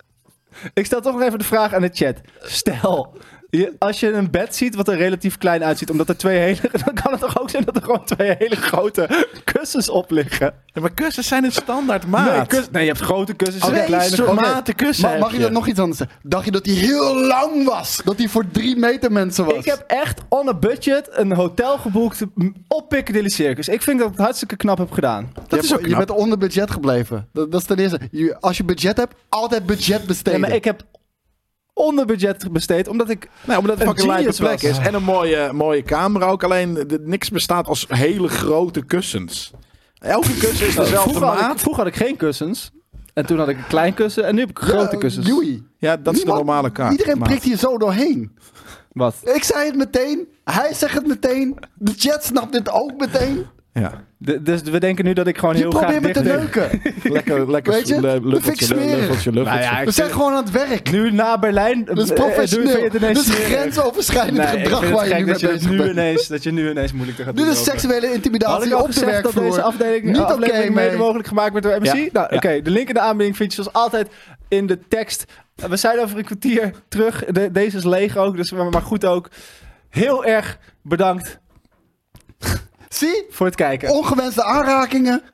S1: <laughs> ik stel toch nog even de vraag aan de chat. Stel, je, als je een bed ziet wat er relatief klein uitziet, omdat er twee hele. <laughs> dan kan het toch ook zijn dat er gewoon twee hele grote kussens op liggen?
S2: Ja, maar kussens zijn een standaard maat.
S1: Nee, kus- nee, je hebt grote kussens en
S2: Twee
S1: kleine
S2: soort
S1: kussens.
S2: maten kussen
S3: Ma- mag
S2: heb
S3: je dat nog iets anders zeggen? Dacht je dat hij heel lang was? Dat hij voor drie meter mensen was?
S1: Ik heb echt on a budget een hotel geboekt m- op Piccadilly Circus. Ik vind dat ik het hartstikke knap heb gedaan.
S2: is
S3: je, hebt-
S2: ook
S3: je
S2: knap.
S3: bent onder budget gebleven. Dat, dat is ten eerste. Je- als je budget hebt, altijd budget
S1: Ja,
S3: besteden.
S1: maar ik heb onder budget besteed, omdat ik.
S2: Nee, Nou, omdat het
S1: Een
S2: fucking lijpe
S1: genius
S2: plek
S1: was.
S2: is. En een mooie, mooie kamer ook. Alleen de- niks bestaat als hele grote kussens. Elke kussen is dezelfde
S1: vroeger, had ik,
S2: maat.
S1: vroeger had ik geen kussens. En toen had ik een klein kussen en nu heb ik
S3: Ja,
S1: grote kussens.
S3: Joey.
S2: Ja, dat is de
S3: Eh, Niemand-
S2: normale kaart.
S3: Iedereen
S2: maat.
S3: prikt hier zo doorheen.
S1: Wat?
S3: Ik zei het meteen. Hij zegt het meteen. De chat snapt dit ook meteen.
S2: Ja.
S1: D- dus we denken nu dat ik gewoon
S3: Je
S1: heel graag
S3: probeert me te
S1: dicht lig. <laughs>
S3: neuken.
S2: Lekker, lekker
S3: Weet
S2: le-
S3: je? Dat vind ik
S2: luffeltje,
S3: smerig.
S2: luffeltje, luffeltje.
S1: Nou ja, ik
S3: We zijn
S1: vind-
S3: gewoon aan het werk.
S1: Nu na Berlijn.
S3: Dat is
S1: eh, eh, doe- vind je
S3: professioneel.
S1: het
S3: Dat
S1: ineens
S3: is
S1: smerig?
S3: grensoverschrijdend
S1: Nee, ik
S3: gedrag
S1: vind het
S3: waar je nu
S1: gek
S3: mee
S1: dat je, het
S3: bezig
S1: nu
S3: bent.
S1: ineens, dat je nu ineens moeilijk te gaat
S3: Dit
S1: doen
S3: is
S1: over.
S3: seksuele
S1: Had ik
S3: intimidatie
S1: al
S3: op de
S1: gezegd dat
S3: werkvloer.
S1: deze afdeling,
S3: Niet oké
S1: aflevering mede
S3: mee.
S1: mogelijk gemaakt werd door MSI?
S2: Ja.
S1: Nou, oké.
S2: Ja.
S1: De link in de aanbieding vind je zoals altijd in de tekst. Eh, We zijn over een kwartier terug. De- deze is leeg ook, dus maar maar goed ook. Heel erg bedankt
S3: Zie?
S1: voor het kijken.
S3: Ongewenste aanrakingen.